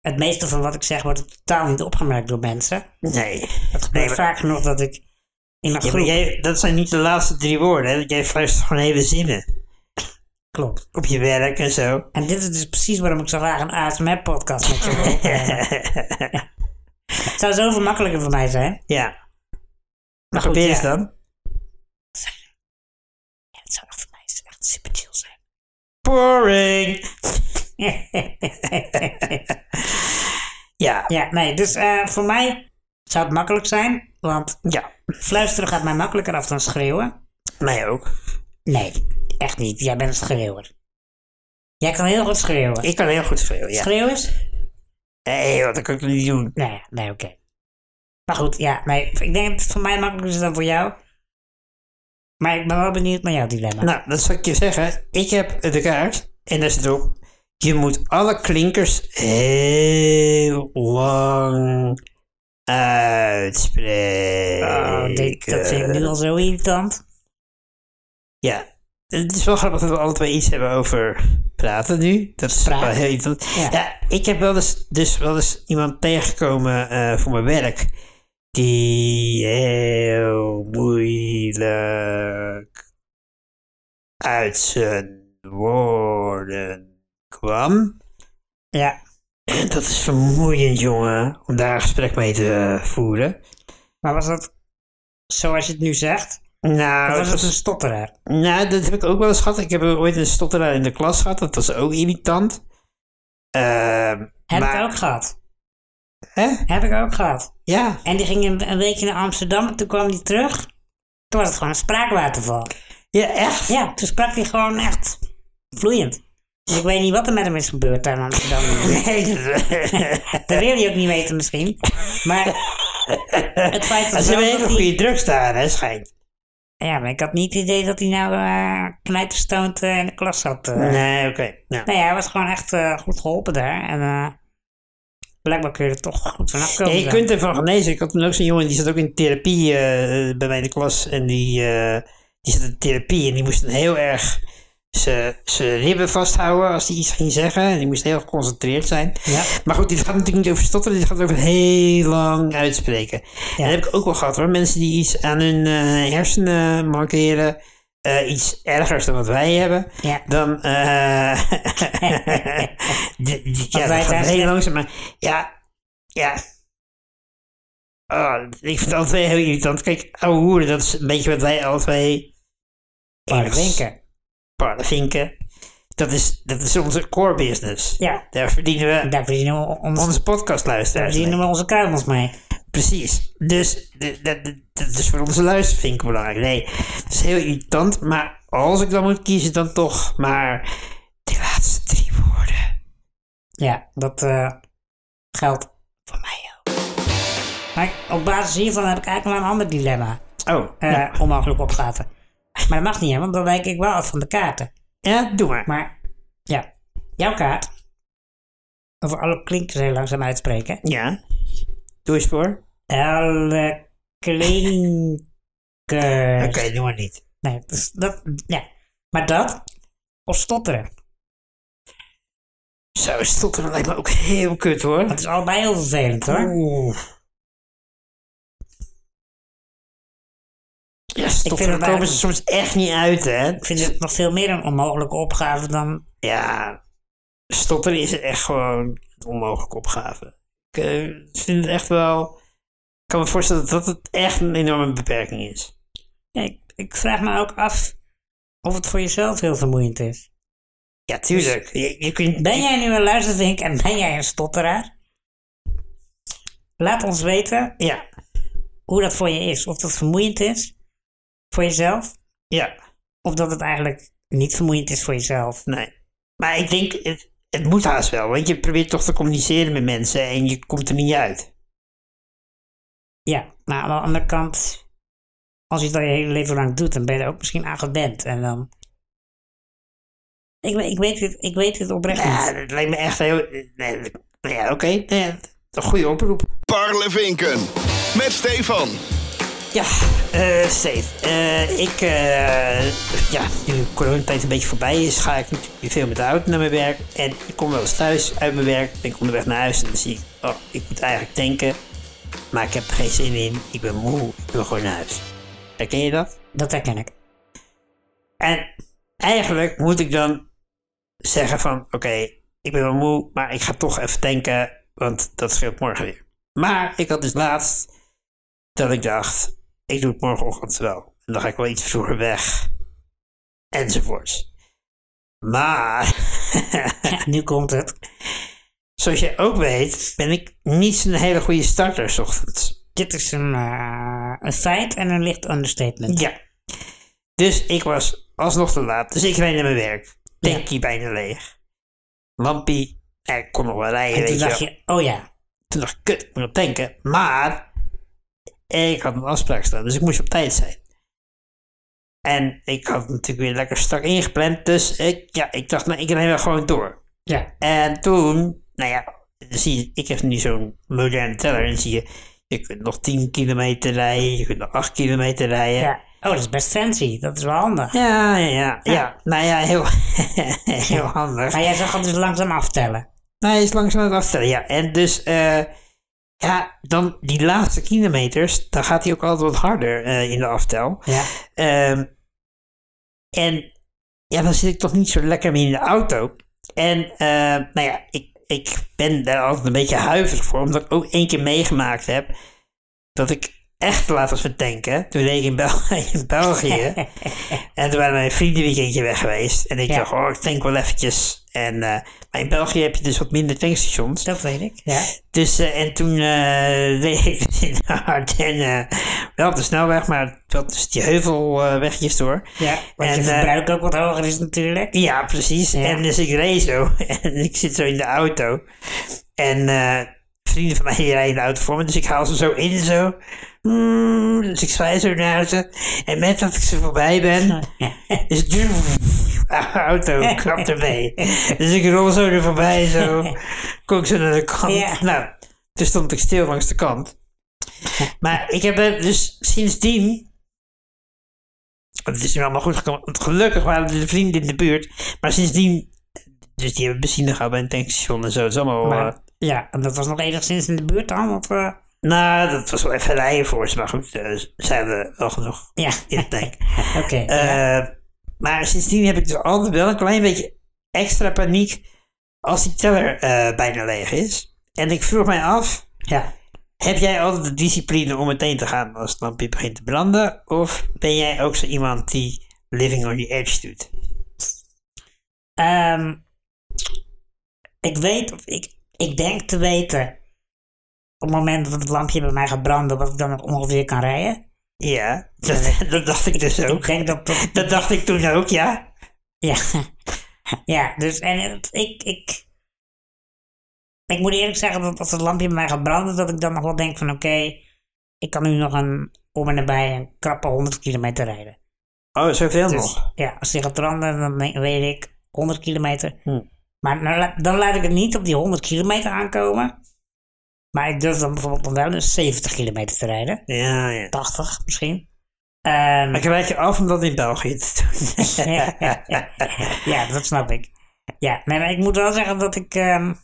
Speaker 2: Het meeste van wat ik zeg wordt totaal niet opgemerkt door mensen.
Speaker 1: Nee.
Speaker 2: Het
Speaker 1: Nee,
Speaker 2: gebeurt
Speaker 1: maar-
Speaker 2: vaak genoeg dat ik in een
Speaker 1: Ja, maar
Speaker 2: groep...
Speaker 1: jij, dat zijn niet de laatste drie woorden, hè? want Jij fluistert gewoon hele zinnen.
Speaker 2: Klopt.
Speaker 1: Op je werk en zo.
Speaker 2: En dit is dus precies waarom ik zo graag een ASMR-podcast met je
Speaker 1: [laughs]
Speaker 2: wil opnemen. Het zou zoveel makkelijker voor mij zijn.
Speaker 1: ja.
Speaker 2: Maar goed,
Speaker 1: Probeer eens
Speaker 2: ja.
Speaker 1: dan.
Speaker 2: Ja, het zou echt voor mij echt super chill zijn. [laughs]
Speaker 1: Boring. Ja.
Speaker 2: ja, nee, dus eh, voor mij zou het makkelijk zijn, want
Speaker 1: Ja.
Speaker 2: fluisteren gaat mij makkelijker af dan schreeuwen.
Speaker 1: Mij ook.
Speaker 2: Nee, echt niet. Jij bent een schreeuwer. Jij kan heel goed schreeuwen.
Speaker 1: Ik kan heel goed schreeuwen, ja.
Speaker 2: Schreeuwen is?
Speaker 1: Nee, wat kan ik niet doen?
Speaker 2: Nee, nee, oké. Maar goed, ja, nee, ik denk dat het voor mij makkelijker is dan voor jou. Maar ik ben wel benieuwd naar jouw dilemma.
Speaker 1: Nou, dat zal ik je zeggen. Ik heb de kaart en daar zit op. Je moet alle klinkers heel lang uitspreken.
Speaker 2: Oh, dit- dat vind ik nu
Speaker 1: eh,
Speaker 2: al zo irritant.
Speaker 1: Ja. Het is wel grappig dat we alle twee iets hebben over praten nu. Dat is
Speaker 2: Praten.
Speaker 1: wel heel interessant.
Speaker 2: Ja.
Speaker 1: Ja. ik heb wel eens, dus wel eens iemand tegengekomen eh, voor mijn werk. Die heel moeilijk uit zijn woorden kwam.
Speaker 2: Ja,
Speaker 1: En dat is vermoeiend, jongen, om daar een gesprek mee te eh, voeren.
Speaker 2: maar was dat zoals je het nu zegt?
Speaker 1: Nou,
Speaker 2: Of was
Speaker 1: dat
Speaker 2: het een
Speaker 1: is-
Speaker 2: stotteraar?
Speaker 1: Nou, dat heb ik ook wel eens gehad. Ik heb ooit een stotteraar in de klas gehad. Dat was ook irritant. Ehm,
Speaker 2: Heb
Speaker 1: maar,
Speaker 2: ik ook gehad.
Speaker 1: Hè?
Speaker 2: Heb ik ook gehad.
Speaker 1: Ja,
Speaker 2: En die ging een, een weekje naar Amsterdam en toen kwam die terug. Toen was het gewoon een spraakwaterval.
Speaker 1: ja, echt.
Speaker 2: Ja, toen sprak hij gewoon echt vloeiend. Dus ik weet niet wat er met hem is gebeurd daar in
Speaker 1: [laughs]
Speaker 2: Amsterdam. dat wil je ook niet weten misschien. Maar het feit
Speaker 1: En
Speaker 2: dat
Speaker 1: ze hebben
Speaker 2: wel
Speaker 1: hele
Speaker 2: dat hij...
Speaker 1: goede drugs daar, hè, schijnt.
Speaker 2: Ja, maar ik had niet het idee dat hij nou eh knijterstoond eh, in de klas zat. eh.
Speaker 1: Nee, oké. Nou.
Speaker 2: Nee, hij was gewoon echt eh, goed geholpen daar. En eh, blijkbaar kun je er toch goed vanaf komen.
Speaker 1: Ja, je
Speaker 2: dan.
Speaker 1: kunt ervan genezen. Ik had toen ook zo'n jongen die zat ook in therapie eh, bij mij in de klas. En die, eh, die zat in therapie en die moest dan heel erg zijn ribben vasthouden als hij iets ging zeggen. En die moest heel geconcentreerd zijn.
Speaker 2: Ja.
Speaker 1: Maar goed, dit gaat natuurlijk niet over stotteren. Dit gaat over heel lang uitspreken. En dat heb ik ook wel gehad hoor. Mensen die iets aan hun eh, hersenen markeren. eh, iets ergers dan wat wij hebben. [laughs]
Speaker 2: Ja.
Speaker 1: Dan... eh, [laughs] die- die- ja,
Speaker 2: wij
Speaker 1: dat gaat
Speaker 2: thuis-
Speaker 1: heel langzaam. Maar ja, ja. Ah, ik vind het alle twee heel irritant. Kijk, ouwe hoeren, dat is een beetje wat wij alle twee...
Speaker 2: Maar
Speaker 1: enigszins-
Speaker 2: denken.
Speaker 1: Paardenvinken. Dat is, dat is onze core business.
Speaker 2: Ja.
Speaker 1: Daar verdienen we
Speaker 2: Daar verdienen we ons
Speaker 1: onze podcastluisteraars
Speaker 2: Daar
Speaker 1: mee.
Speaker 2: zien we onze kruimels mee.
Speaker 1: Precies. Dus d- d- d- dat is voor onze luistervinken belangrijk. Nee, dat is heel irritant. Maar als ik dan moet kiezen, dan toch maar die laatste drie woorden.
Speaker 2: Ja, dat eh, geldt voor mij ook. Maar op basis hiervan heb ik eigenlijk nog een ander dilemma.
Speaker 1: Oh,
Speaker 2: eh,
Speaker 1: nou,
Speaker 2: Onmogelijk opgaten. Maar dat mag niet, hè, want dan wijk ik wel af van de kaarten.
Speaker 1: ja, doe maar.
Speaker 2: Maar ja, jouw kaart. Over alle klinkers heel langzaam uitspreken.
Speaker 1: Ja. Doe eens voor.
Speaker 2: Alle klinkers.
Speaker 1: Oké, doe maar niet.
Speaker 2: Nee, dus dat, ja. Maar dat, of stotteren.
Speaker 1: Zo, stotteren lijkt me ook heel kut hoor.
Speaker 2: Dat is allebei heel vervelend hoor.
Speaker 1: Oeh. Ja,
Speaker 2: het
Speaker 1: stotteren komen
Speaker 2: eigenlijk-
Speaker 1: ze soms echt niet uit, hè?
Speaker 2: Ik vind het nog veel meer een onmogelijke opgave dan
Speaker 1: ja, stotteren is echt gewoon een onmogelijke opgave. Ik eh, vind het echt wel. Ik kan me voorstellen dat het echt een enorme beperking is.
Speaker 2: Ja, ik, ik vraag me ook af of het voor jezelf heel vermoeiend is.
Speaker 1: Ja, tuurlijk. Dus Je, je kunt...
Speaker 2: Ben jij nu een luistervink en ben jij een stotteraar? Laat ons weten
Speaker 1: Ja,
Speaker 2: hoe dat voor je is. Of dat vermoeiend is voor jezelf,
Speaker 1: ja.
Speaker 2: of dat het eigenlijk niet vermoeiend is voor jezelf.
Speaker 1: Nee. Maar ik denk, het, het moet haast wel. Want je probeert toch te communiceren met mensen en je komt er niet uit.
Speaker 2: Ja, maar aan de andere kant, als je het al je hele leven lang doet, dan ben je er ook misschien aan gewend. En dan. Ik, we- ik, weet, het, ik weet het oprecht
Speaker 1: Ja,
Speaker 2: niet.
Speaker 1: dat lijkt me echt heel... Nee, dat- ja, oké. Nee, dat is een goede oproep.
Speaker 4: Parlevinken met Stefan.
Speaker 1: Ja, eh Steve. eh, ik, eh ja, nu de coronatijd een beetje voorbij is, ga ik natuurlijk weer veel met de auto naar mijn werk. En ik kom wel eens thuis uit mijn werk, ben ik onderweg naar huis en dan zie ik, oh, ik moet eigenlijk tanken. Maar ik heb er geen zin in, ik ben moe, ik wil gewoon naar huis. Herken je dat?
Speaker 2: Dat herken ik.
Speaker 1: En eigenlijk moet ik dan zeggen van, oké, ik ben wel moe, maar ik ga toch even tanken, want dat scheelt morgen weer. Maar ik had dus laatst dat ik dacht, ik doe het morgenochtend wel. En dan ga ik wel iets vroeger weg. Enzovoorts. Maar, [laughs]
Speaker 2: Ja, nu komt het.
Speaker 1: zoals je ook weet, ben ik niet zo'n hele goede starter 's ochtends.
Speaker 2: Dit is een, eh, een feit en een licht understatement.
Speaker 1: Ja. Dus ik was alsnog te laat. Dus ik reed naar mijn werk. Tankie bijna leeg. Lampie, eh, ik kon nog wel rijden.
Speaker 2: en toen
Speaker 1: weet je
Speaker 2: dacht
Speaker 1: wel.
Speaker 2: je, oh ja,
Speaker 1: Toen dacht ik, kut, ik moet nog tanken. Maar ik had een afspraak staan, dus ik moest op tijd zijn. En ik had natuurlijk weer lekker strak ingepland. Dus ik, ja, ik dacht, nou, ik rijd wel gewoon door.
Speaker 2: ja,
Speaker 1: En toen, nou ja, zie je, ik heb nu zo'n moderne teller. En zie je, je kunt nog 10 kilometer rijden, je kunt nog 8 kilometer rijden.
Speaker 2: ja. Oh, dat is best fancy. Dat is wel handig.
Speaker 1: Ja, ja, ja. ja. Nou ja, heel, [laughs] heel handig.
Speaker 2: Maar jij zag het dus langzaam aftellen.
Speaker 1: Nou, hij is langzaam aan het aftellen, ja. En dus, eh, ja, dan die laatste kilometers, dan gaat hij ook altijd wat harder eh, in de aftel.
Speaker 2: Ja.
Speaker 1: Ehm, en ja, dan zit ik toch niet zo lekker meer in de auto. En eh, nou ja, ik, ik ben daar altijd een beetje huiverig voor, omdat ik ook één keer meegemaakt heb dat ik echt te laat was met tanken. Toen reed ik in, Bel- [laughs] in
Speaker 2: [laughs]
Speaker 1: België. en toen waren mijn vrienden een weekendje weg geweest. En ik
Speaker 2: Ja.
Speaker 1: dacht, oh, ik tank wel eventjes. En, eh, maar in België heb je dus wat minder tankstations.
Speaker 2: Dat weet ik. Ja.
Speaker 1: Dus, eh, en toen eh [laughs] reed ik dus in de Ardennen wel op de snelweg, maar dat is die heuvelwegjes door.
Speaker 2: ja. Want
Speaker 1: En,
Speaker 2: je
Speaker 1: eh,
Speaker 2: verbruik ook wat hoger is natuurlijk.
Speaker 1: Ja, precies. En dus ik reed zo [laughs] en ik zit zo in de auto. En eh, vrienden van mij die rijden in de auto voor me, dus ik haal ze zo in zo. Mm, dus ik zwaai zo naar ze. En met dat ik ze voorbij ben, [laughs] is het ah, auto knapt erbij. Dus ik rol zo er voorbij zo. Kom ik zo naar de kant.
Speaker 2: Ja.
Speaker 1: Nou, toen stond ik stil langs de kant. Maar ik heb er dus sindsdien. Het is nu allemaal goed gekomen. Want gelukkig waren er vrienden in de buurt. Maar sindsdien. Dus die hebben benzine gehad bij een tankstation en zo. Het is allemaal. eh,
Speaker 2: Maar, ja, en dat was nog enigszins in de buurt dan, want eh,
Speaker 1: nou, dat was wel even rijden voor ze. Maar goed, eh, ze hadden wel genoeg
Speaker 2: ja,
Speaker 1: in de
Speaker 2: [laughs]
Speaker 1: tank.
Speaker 2: oké. ja.
Speaker 1: Eh, Maar sindsdien heb ik dus altijd wel een klein beetje extra paniek. als die teller eh, bijna leeg is. En ik vroeg mij af.
Speaker 2: ja.
Speaker 1: Heb jij altijd de discipline om meteen te gaan als het lampje begint te branden? Of ben jij ook zo iemand die living on the edge doet?
Speaker 2: Ehm, ik weet, of ik, ik denk te weten, op het moment dat het lampje bij mij gaat branden, wat ik dan nog ongeveer kan rijden.
Speaker 1: Ja, dat, [laughs] dat dacht ik dus
Speaker 2: Ik
Speaker 1: ook.
Speaker 2: denk dat dat...
Speaker 1: Dat dacht ik toen ook, ja.
Speaker 2: ja. [laughs] ja, dus en het- ik, ik... Ik moet eerlijk zeggen dat als het lampje bij mij gaat branden, dat ik dan nog wel denk van oké, ik kan nu nog een om en nabij een krappe 100 kilometer rijden.
Speaker 1: Oh, zoveel
Speaker 2: Dus
Speaker 1: nog.
Speaker 2: ja, als die gaat branden, dan denk- weet ik 100 kilometer.
Speaker 1: Hm.
Speaker 2: Maar nou la- dan laat ik het niet op die 100 kilometer aankomen. Maar ik durf dan bijvoorbeeld nog wel eens 70 kilometer te rijden.
Speaker 1: Ja, ja.
Speaker 2: 80 misschien. Ehm,
Speaker 1: Maar ik rijd je af om dat in België te doen.
Speaker 2: [laughs] ja, dat snap ik. Ja, nee, maar ik moet wel zeggen dat ik. ehm,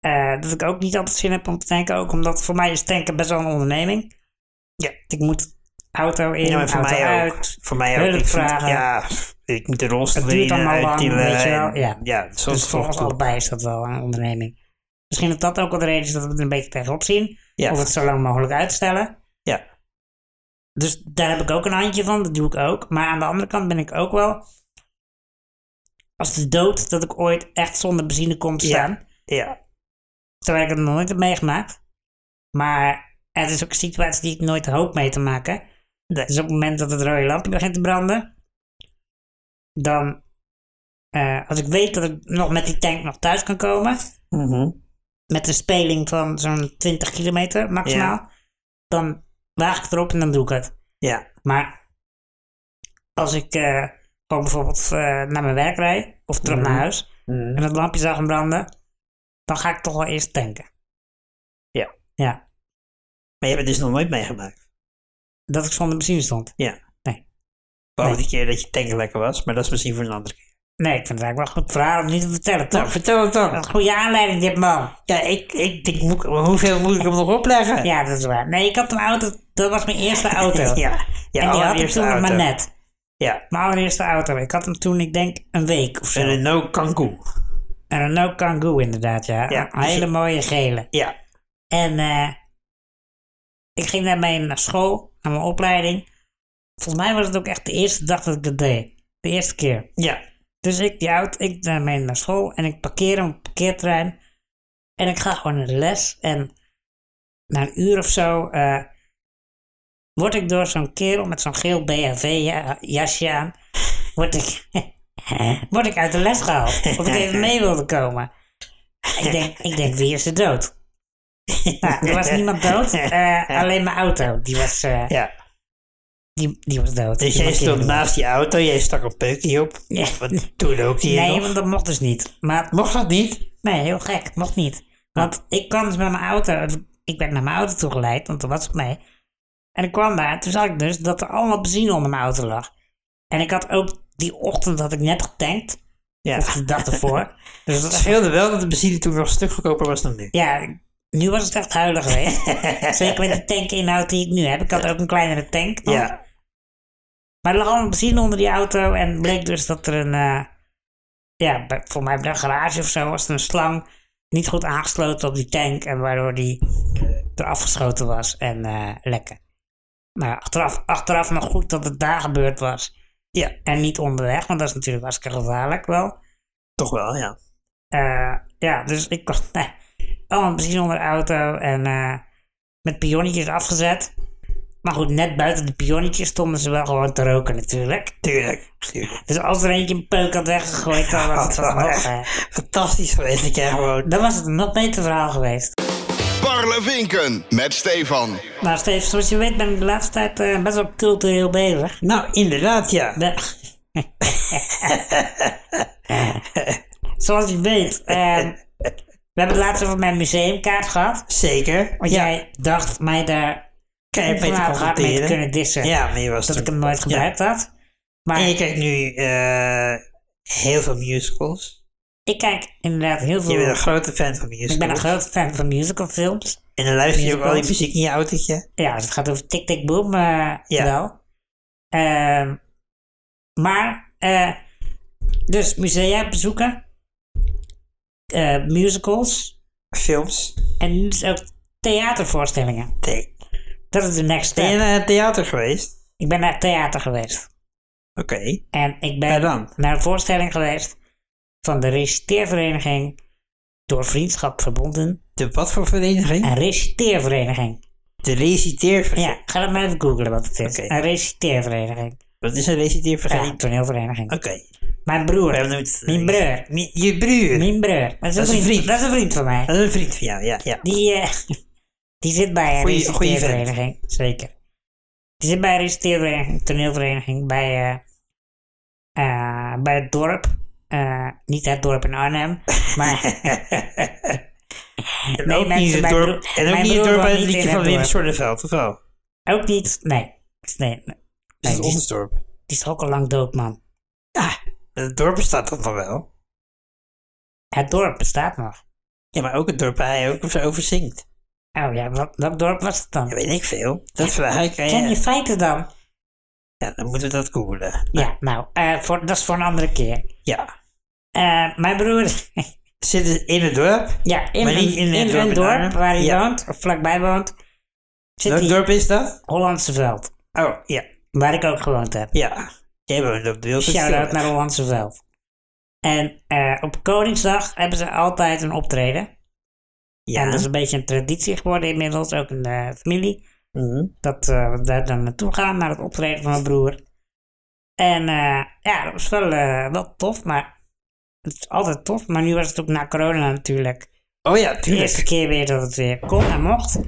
Speaker 2: eh, dat ik ook niet altijd zin heb om te tanken. Ook omdat voor mij is tanken best wel een onderneming. Dus
Speaker 1: Ja.
Speaker 2: Ik moet auto in,
Speaker 1: Ja, maar voor
Speaker 2: auto
Speaker 1: mij
Speaker 2: uit.
Speaker 1: ook. Voor mij ook.
Speaker 2: Hulp
Speaker 1: Ik vind-
Speaker 2: vragen.
Speaker 1: ja, ik moet de rolstoel
Speaker 2: Het
Speaker 1: in
Speaker 2: duurt
Speaker 1: en
Speaker 2: allemaal lang,
Speaker 1: uittillen
Speaker 2: weet je wel,
Speaker 1: en-
Speaker 2: ja.
Speaker 1: ja soms
Speaker 2: Dus voor ons allebei is dat wel een onderneming. Misschien dat dat ook wel de reden is dat we het een beetje tegenop zien.
Speaker 1: Ja.
Speaker 2: Of het zo lang mogelijk uitstellen.
Speaker 1: Ja.
Speaker 2: Dus daar heb ik ook een handje van, dat doe ik ook. Maar aan de andere kant ben ik ook wel als de dood dat ik ooit echt zonder benzine kom te
Speaker 1: Ja.
Speaker 2: staan.
Speaker 1: Ja.
Speaker 2: Terwijl ik het nog nooit heb meegemaakt. Maar het is ook een situatie die ik nooit hoop mee te maken.
Speaker 1: Nee.
Speaker 2: Dus op het moment dat het rode lampje begint te branden, dan, eh, als ik weet dat ik nog met die tank nog thuis kan komen,
Speaker 1: Mhm.
Speaker 2: met een speling van zo'n 20 kilometer maximaal, dan waag ik het erop en dan doe ik het.
Speaker 1: Ja.
Speaker 2: Maar als ik eh, gewoon bijvoorbeeld eh, naar mijn werk rijd of terug naar huis
Speaker 1: Mhm.
Speaker 2: en het lampje zou gaan branden, dan ga ik toch wel eerst tanken.
Speaker 1: Ja.
Speaker 2: Ja,
Speaker 1: Maar je hebt het dus nog nooit meegemaakt.
Speaker 2: dat ik zonder benzine stond.
Speaker 1: Ja.
Speaker 2: Nee.
Speaker 1: Behalve
Speaker 2: Nee.
Speaker 1: die keer dat je tank lekker was, maar dat is misschien voor een andere keer.
Speaker 2: Nee, ik vind het eigenlijk wel een goed verhaal om niet te vertellen, toch?
Speaker 1: Nou, vertel het dan.
Speaker 2: Een goede aanleiding dit man.
Speaker 1: Ja, ik, ik denk, moet ik- hoeveel moet ik hem nog opleggen?
Speaker 2: Ja, dat is waar. Nee, ik had een auto, dat was mijn eerste auto.
Speaker 1: [laughs] ja. ja oh,
Speaker 2: en die had ik
Speaker 1: allereerste
Speaker 2: toen nog maar
Speaker 1: auto.
Speaker 2: net.
Speaker 1: Ja,
Speaker 2: Mijn allereerste auto. Ik had hem toen, ik denk, een week of zo.
Speaker 1: een
Speaker 2: Een
Speaker 1: Renault Kangoo.
Speaker 2: Renault Kangoo inderdaad, ja.
Speaker 1: Ja, dus
Speaker 2: Een hele mooie gele.
Speaker 1: Ja.
Speaker 2: En eh, ik ging daarmee naar school, naar mijn opleiding. Volgens mij was het ook echt de eerste dag dat ik dat deed. De eerste keer.
Speaker 1: Ja.
Speaker 2: Dus ik, die auto, ik daarmee naar school en ik parkeer hem op een parkeerterrein. En ik ga gewoon naar de les. En na een uur of zo eh, word ik door zo'n kerel met zo'n geel BHV-jasje aan, word ik, [laughs] word ik uit de les gehaald. Of ik even mee wilde komen. Ik denk, ik denk wie is er dood? Nou, er was niemand dood, eh, alleen mijn auto. Die was, eh,
Speaker 1: ja.
Speaker 2: die, die was dood.
Speaker 1: Dus
Speaker 2: Die
Speaker 1: jij stond
Speaker 2: markeerde me.
Speaker 1: naast die auto, jij stak een peukje op.
Speaker 2: Ja.
Speaker 1: Want toen ook die
Speaker 2: Nee,
Speaker 1: nog.
Speaker 2: want dat mocht dus niet. Maar
Speaker 1: Mocht dat niet?
Speaker 2: Nee, heel gek. Mocht niet. Want ik kwam dus met mijn auto. Ik werd naar mijn auto toegeleid, want dat was op mij. En ik kwam daar. Toen zag ik dus dat er allemaal benzine onder mijn auto lag. En ik had ook die ochtend had ik net getankt.
Speaker 1: Ja.
Speaker 2: Of de dag ervoor.
Speaker 1: [laughs]
Speaker 2: dus dat
Speaker 1: Het
Speaker 2: was echt-
Speaker 1: scheelde wel dat de benzine toen nog een stuk goedkoper was dan nu.
Speaker 2: ja, nu was het echt huilen geweest. [laughs] Zeker met de tankinhoud die ik nu heb. Ik had ook een kleinere tank. nog.
Speaker 1: Ja.
Speaker 2: Maar er lag allemaal benzine onder die auto. En bleek dus dat er een... eh, ja, bij- voor mij bij een garage of zo was er een slang niet goed aangesloten op die tank. En waardoor die er afgeschoten was en eh lekker. Maar achteraf, achteraf nog goed dat het daar gebeurd was.
Speaker 1: Ja.
Speaker 2: En niet onderweg, want dat is natuurlijk hartstikke gevaarlijk wel.
Speaker 1: Toch wel, ja.
Speaker 2: Eh, ja, dus ik was [laughs] nee, allemaal benzine onder de auto en eh, met pionnetjes afgezet. Maar goed, net buiten de pionnetjes stonden ze wel gewoon te roken natuurlijk.
Speaker 1: Tuurlijk. Tuurlijk.
Speaker 2: Dus als er eentje een peuk had weggegooid, dan was het wel nog, eh,
Speaker 1: Fantastisch geweest dat jij gewoon...
Speaker 2: dan was het een nog beter verhaal geweest.
Speaker 4: Parlevinken met Stefan.
Speaker 2: Nou, Steve, zoals je weet ben ik de laatste tijd eh, best wel cultureel bezig.
Speaker 1: Nou, inderdaad, ja.
Speaker 2: Ben- [laughs] zoals je weet, eh, we hebben het laatst over mijn museumkaart gehad.
Speaker 1: Zeker.
Speaker 2: Want
Speaker 1: ja.
Speaker 2: jij dacht mij daar
Speaker 1: Keihard mee te
Speaker 2: ongelooflijk hard mee te
Speaker 1: confronteren.
Speaker 2: kunnen dissen.
Speaker 1: Ja, maar je was
Speaker 2: dat
Speaker 1: toen-
Speaker 2: ik hem nooit gebruikt had. Maar
Speaker 1: En je kijkt nu eh, heel veel musicals.
Speaker 2: ik kijk inderdaad heel
Speaker 1: Je
Speaker 2: veel.
Speaker 1: bent een grote fan van musicals.
Speaker 2: ik ben een groot fan van musicalfilms.
Speaker 1: En dan luister je ook al die
Speaker 2: musicals.
Speaker 1: muziek in je autootje.
Speaker 2: Ja, als het gaat over Tick Tick Boom eh,
Speaker 1: Ja.
Speaker 2: wel. Ehm, maar, eh, dus musea bezoeken, eh, musicals
Speaker 1: Films.
Speaker 2: en nu dus ook theatervoorstellingen.
Speaker 1: Nee.
Speaker 2: Dat is de next
Speaker 1: Ben je
Speaker 2: step.
Speaker 1: naar het theater geweest?
Speaker 2: Ik ben naar het theater geweest.
Speaker 1: Oké.
Speaker 2: En ik ben
Speaker 1: Waar dan?
Speaker 2: naar een voorstelling geweest van de reciteervereniging door vriendschap verbonden.
Speaker 1: De wat voor vereniging?
Speaker 2: Een reciteervereniging.
Speaker 1: De reciteervereniging.
Speaker 2: Ja, ga dat maar even googlen wat het is.
Speaker 1: Oké.
Speaker 2: Een reciteervereniging.
Speaker 1: Wat is een
Speaker 2: Ja,
Speaker 1: reciteervereniging?
Speaker 2: een toneelvereniging.
Speaker 1: Oké.
Speaker 2: Mijn broer.
Speaker 1: We hebben het-
Speaker 2: Mijn broer.
Speaker 1: Mi- Je broer.
Speaker 2: Mijn broer. Dat is, een vriend. Dat is een vriend van mij.
Speaker 1: Dat is een vriend van jou, ja. ja.
Speaker 2: Die, eh, [laughs] die zit bij een
Speaker 1: Goeie- goeie vent.
Speaker 2: reciteervereniging. Zeker. Die zit bij een reciteervereniging, toneelvereniging, bij, eh, eh, bij het dorp. Eh, niet het dorp in [laughs] Arnhem, maar...
Speaker 1: En
Speaker 2: Nee,
Speaker 1: ook
Speaker 2: mensen,
Speaker 1: niet het
Speaker 2: mijn
Speaker 1: dorp,
Speaker 2: broer-
Speaker 1: en ook
Speaker 2: mijn
Speaker 1: niet het
Speaker 2: broer
Speaker 1: dorp
Speaker 2: woont
Speaker 1: bij het
Speaker 2: niet
Speaker 1: liedje
Speaker 2: in
Speaker 1: van
Speaker 2: het
Speaker 1: Wim
Speaker 2: dorp.
Speaker 1: Sonneveld, of wel?
Speaker 2: Ook niet. Nee. Nee. nee.
Speaker 1: Dat is
Speaker 2: die-
Speaker 1: ons dorp.
Speaker 2: Die is toch ook al lang dood, man.
Speaker 1: Het dorp bestaat dan nog wel.
Speaker 2: Het dorp bestaat nog.
Speaker 1: Ja, maar ook het dorp waar hij ook zo over zingt.
Speaker 2: Oh ja, wat, welk dorp was het
Speaker 1: Ja,
Speaker 2: dan?
Speaker 1: weet ik veel. Dat vraag ik aan
Speaker 2: Ken je
Speaker 1: je.
Speaker 2: feiten dan?
Speaker 1: Ja, dan moeten we dat googelen.
Speaker 2: Ja, nou, eh, voor, dat is voor een andere keer.
Speaker 1: Ja.
Speaker 2: Eh, mijn broer, [laughs]
Speaker 1: Zit het in het dorp?
Speaker 2: ja, in,
Speaker 1: Maar
Speaker 2: een,
Speaker 1: niet in
Speaker 2: in,
Speaker 1: het dorp
Speaker 2: een
Speaker 1: in
Speaker 2: dorp
Speaker 1: Arnhem?
Speaker 2: waar hij
Speaker 1: Ja.
Speaker 2: woont, of vlakbij woont, zit
Speaker 1: Welk
Speaker 2: hij
Speaker 1: dorp is dat?
Speaker 2: Hollandse Veld,
Speaker 1: Oh, ja.
Speaker 2: waar ik ook gewoond heb.
Speaker 1: Ja. Jij woont op de Wilson
Speaker 2: Shout-out naar Hollandse Veld. En eh, op Koningsdag hebben ze altijd een optreden.
Speaker 1: Ja.
Speaker 2: En dat is een beetje een traditie geworden inmiddels, ook in de familie.
Speaker 1: Mhm.
Speaker 2: Dat eh, we daar dan naartoe gaan, naar het optreden van mijn broer. En eh, ja, dat was wel, eh, wel tof, maar het is altijd tof. Maar nu was het ook na corona natuurlijk.
Speaker 1: Oh ja,
Speaker 2: De eerste
Speaker 1: tuurlijk.
Speaker 2: keer weer dat het weer kon en mocht.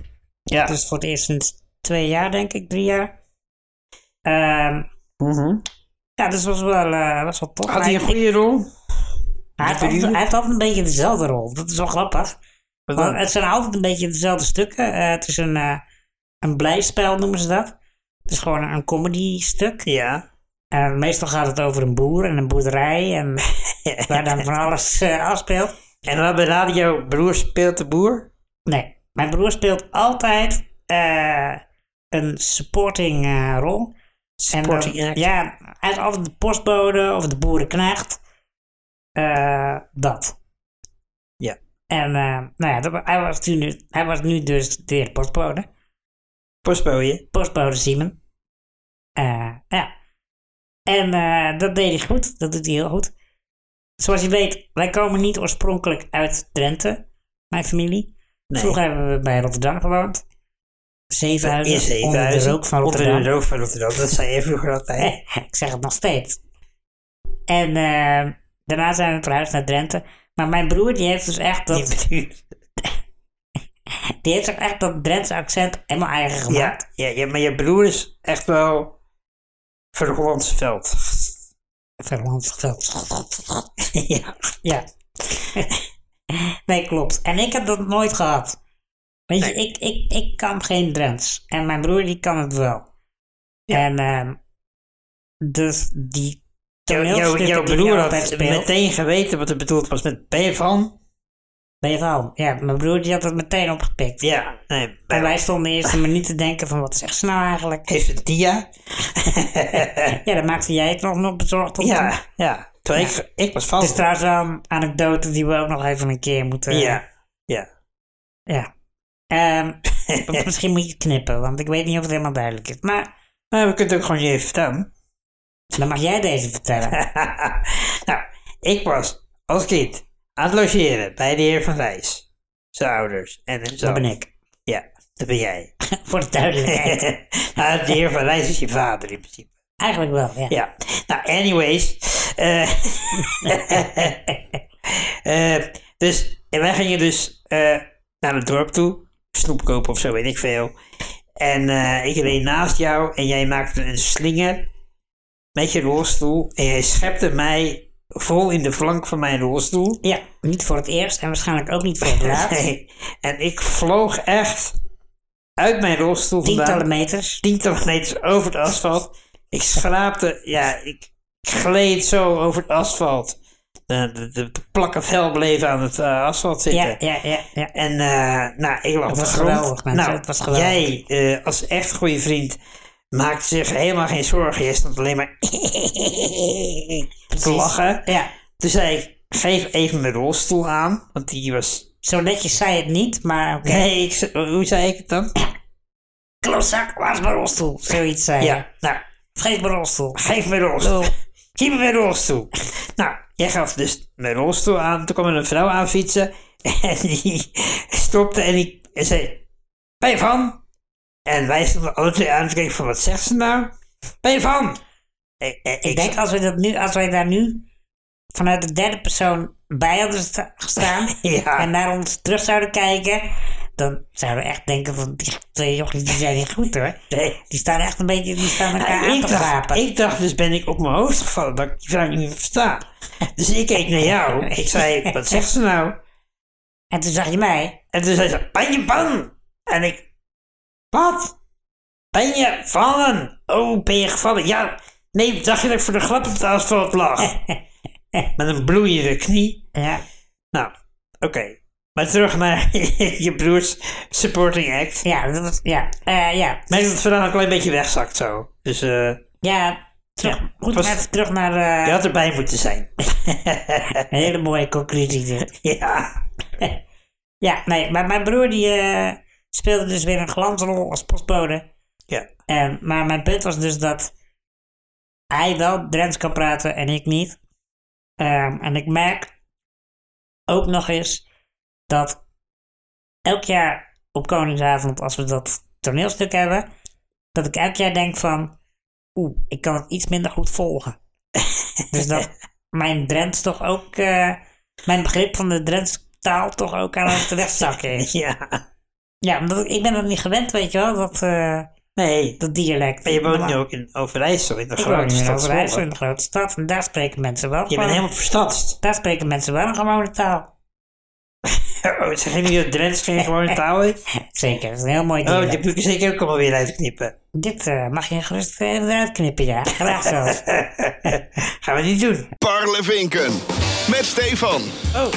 Speaker 1: Ja.
Speaker 2: Dus voor het eerst sinds twee jaar, denk ik, drie jaar. Ehm,
Speaker 1: Mhm.
Speaker 2: ja, dus was wel, eh, was wel tof.
Speaker 1: Had hij
Speaker 2: Maar
Speaker 1: een
Speaker 2: ik-
Speaker 1: goede rol?
Speaker 2: Hij heeft, altijd, hij heeft altijd een beetje dezelfde rol. Dat is wel grappig.
Speaker 1: Wat
Speaker 2: Want
Speaker 1: dan?
Speaker 2: het zijn altijd een beetje dezelfde stukken. Eh, het is een, eh een blijspel, noemen ze dat. Het is gewoon een comedy stuk.
Speaker 1: Ja.
Speaker 2: En meestal gaat het over een boer en een boerderij. En [laughs] waar dan van alles eh, afspeelt.
Speaker 1: En dan bij radio Broer speelt de boer.
Speaker 2: Nee, mijn broer speelt altijd eh, een supporting eh, rol. En dan-
Speaker 1: Supporting act.
Speaker 2: Ja, hij is altijd de postbode of de boerenknecht. Eh, dat.
Speaker 1: Ja.
Speaker 2: En eh, nou ja, dat, wa- hij, was nu, hij was nu dus weer postbode.
Speaker 1: Postbode.
Speaker 2: Postbode Simon. Eh, ja. En eh, dat deed hij goed. Dat doet hij heel goed. Zoals je weet, wij komen niet oorspronkelijk uit Drenthe. Mijn familie.
Speaker 1: Nee.
Speaker 2: Vroeger hebben we bij Rotterdam gewoond. Zevenhuizen,
Speaker 1: In
Speaker 2: onder de
Speaker 1: Zevenhuizen.
Speaker 2: rook van
Speaker 1: Onder de
Speaker 2: Rotterdam.
Speaker 1: rook van Rotterdam. Dat zei [laughs] je vroeger altijd.
Speaker 2: [laughs] ik zeg het nog steeds. En eh, daarna zijn we verhuisd naar Drenthe. Maar mijn broer die heeft dus echt dat, die heeft zich echt dat Drentse accent helemaal eigen gemaakt.
Speaker 1: Ja, ja, ja, maar je broer is echt wel van het Hollandse veld.
Speaker 2: Verland ja. ja. [laughs] nee, klopt. En ik heb dat nooit gehad. Weet je, ik, ik, ik kan geen Drents. En mijn broer die kan het wel. En ehm, dus die
Speaker 1: Jouw- jouw-
Speaker 2: toneelstukken
Speaker 1: jouw
Speaker 2: die
Speaker 1: broer
Speaker 2: hij
Speaker 1: had
Speaker 2: altijd speelt-
Speaker 1: meteen geweten wat er bedoeld was met B van.
Speaker 2: Ben je van? Ja, mijn broer die had het meteen opgepikt.
Speaker 1: Ja, nee, bij-
Speaker 2: En wij stonden eerst een minuut te denken van wat zegt ze nou eigenlijk?
Speaker 1: heeft het dia.
Speaker 2: Ja, dan maakte jij het nog nog bezorgd om. toen.
Speaker 1: Ja, ja. Toen Ik, ik was
Speaker 2: Het
Speaker 1: vast.
Speaker 2: is trouwens wel een anekdote die we ook nog even een keer moeten...
Speaker 1: ja, ja.
Speaker 2: Ja. [laughs] Ehm, want misschien moet je het knippen, want ik weet niet of het helemaal duidelijk is. Maar
Speaker 1: Maar we kunnen het ook gewoon je even vertellen.
Speaker 2: dan mag jij deze [laughs] vertellen.
Speaker 1: nou, ik was als kind aan het logeren bij de heer Van Rijs. Zijn ouders en hem
Speaker 2: Dat
Speaker 1: zelf.
Speaker 2: ben ik.
Speaker 1: Ja, dat ben
Speaker 2: [laughs]
Speaker 1: jij. [laughs]
Speaker 2: Voor de [laughs] duidelijkheid.
Speaker 1: nou, de heer Van Rijs is je vader in principe.
Speaker 2: Eigenlijk wel, ja.
Speaker 1: Ja, nou, anyways. eh, [laughs] eh, dus en wij gingen dus eh, naar het dorp toe. Snoep kopen of zo, weet ik veel. En eh, ik reed naast jou en jij maakte een slinger met je rolstoel. En jij schepte mij vol in de flank van mijn rolstoel.
Speaker 2: Ja, niet voor het eerst en waarschijnlijk ook niet voor [laughs] het laatst.
Speaker 1: Nee. [laughs] En ik vloog echt uit mijn rolstoel
Speaker 2: Tientallen
Speaker 1: vandaan
Speaker 2: meters.
Speaker 1: tientallen meters over het asfalt. Ik schraapte, ja, ik gleed zo over het asfalt. De, de, de, de plakken vel bleven aan het eh, asfalt zitten.
Speaker 2: Ja, ja, ja, ja.
Speaker 1: En eh, nou, ik lag op de
Speaker 2: was
Speaker 1: grond.
Speaker 2: geweldig, mensen.
Speaker 1: Nou,
Speaker 2: Het was geweldig.
Speaker 1: jij eh, als echt goede vriend maakte zich helemaal geen zorgen. Jij stond alleen maar [laughs] te lachen.
Speaker 2: Ja.
Speaker 1: Toen zei ik, geef even mijn rolstoel aan. Want die was...
Speaker 2: Zo netjes zei het niet, maar oké.
Speaker 1: Nee, ik, ze- hoe zei ik het dan?
Speaker 2: [laughs] Klootzak, waar is mijn rolstoel? Zoiets zei je.
Speaker 1: Ja, nou,
Speaker 2: Geef mijn rolstoel.
Speaker 1: geef mijn rolstoel. Geef me mijn rolstoel. Nou, jij gaf dus mijn rolstoel aan. Toen kwam er een vrouw aan fietsen. [laughs] En die stopte en die en zei... Ben je van? En wij stonden alle twee aan te kijken van... Wat zegt ze nou? Ben je van? Ik, ik,
Speaker 2: Ik denk als we, dat nu, als wij daar nu vanuit de derde persoon bij hadden sta- [laughs] gestaan
Speaker 1: Ja.
Speaker 2: en naar ons terug zouden kijken, dan zouden we echt denken van die twee jochies die zijn niet goed hoor.
Speaker 1: [laughs] Nee. Ah,
Speaker 2: Die staan echt een beetje, die staan elkaar aan
Speaker 1: ik,
Speaker 2: te
Speaker 1: dacht,
Speaker 2: gapen.
Speaker 1: ik dacht dus ben ik op mijn hoofd gevallen dat ik die vrouw niet meer versta. Dus ik keek naar jou. Ik zei, wat zegt ze nou?
Speaker 2: En toen zag je mij,
Speaker 1: En toen zei ze, ben je van? En ik, wat? Ben je vallen? Oh, ben je gevallen? Ja, nee, dacht je dat ik voor de grap op het asfalt lag?
Speaker 2: [laughs]
Speaker 1: Met een bloeiende knie.
Speaker 2: ja,
Speaker 1: Nou, oké. Maar terug naar [laughs] je broers supporting act.
Speaker 2: ja, dat was, ja, eh, ja,
Speaker 1: Merk dat het verhaal een klein beetje wegzakt zo. Dus eh,
Speaker 2: ja, terug,
Speaker 1: Ja,
Speaker 2: goed,
Speaker 1: was-
Speaker 2: even terug naar eh,
Speaker 1: je had erbij moeten zijn. [laughs]
Speaker 2: een hele mooie conclusie dit.
Speaker 1: ja.
Speaker 2: Ja, nee, maar mijn broer die eh, speelde dus weer een glansrol als postbode.
Speaker 1: ja.
Speaker 2: En, maar mijn punt was dus dat hij wel Drents kan praten en ik niet. Ehm, en ik merk ook nog eens dat elk jaar op Koningsavond, als we dat toneelstuk hebben, dat ik elk jaar denk van, oeh, ik kan het iets minder goed volgen. [laughs] dus dat mijn Drents toch ook, eh, mijn begrip van de Drents taal toch ook aan het wegzakken is.
Speaker 1: Ja.
Speaker 2: Ja, omdat ik, ik ben dat niet gewend, weet je wel, dat, eh,
Speaker 1: Nee,
Speaker 2: dat dialect.
Speaker 1: maar je woont
Speaker 2: Maar-
Speaker 1: nu ook in Overijssel, in de
Speaker 2: ik woon
Speaker 1: grote
Speaker 2: nu in
Speaker 1: stad
Speaker 2: Overijssel,
Speaker 1: Zwolle.
Speaker 2: in de grote stad. En daar spreken mensen wel
Speaker 1: Je bent
Speaker 2: gewoon-
Speaker 1: helemaal verstadst.
Speaker 2: Daar spreken mensen wel een gewone taal.
Speaker 1: [laughs]
Speaker 2: [laughs]
Speaker 1: Oh, zeg je dat Drents geen gewone taal is?
Speaker 2: Zeker, dat is een heel mooi
Speaker 1: Oh,
Speaker 2: dialect.
Speaker 1: die moet ik zeker ook allemaal weer uitknippen.
Speaker 2: Dit eh, mag je gerust eh, eruit knippen, ja. Graag
Speaker 1: [laughs]
Speaker 2: zelfs.
Speaker 1: Gaan we niet doen.
Speaker 4: Parlevinken met Stefan.
Speaker 1: Oh.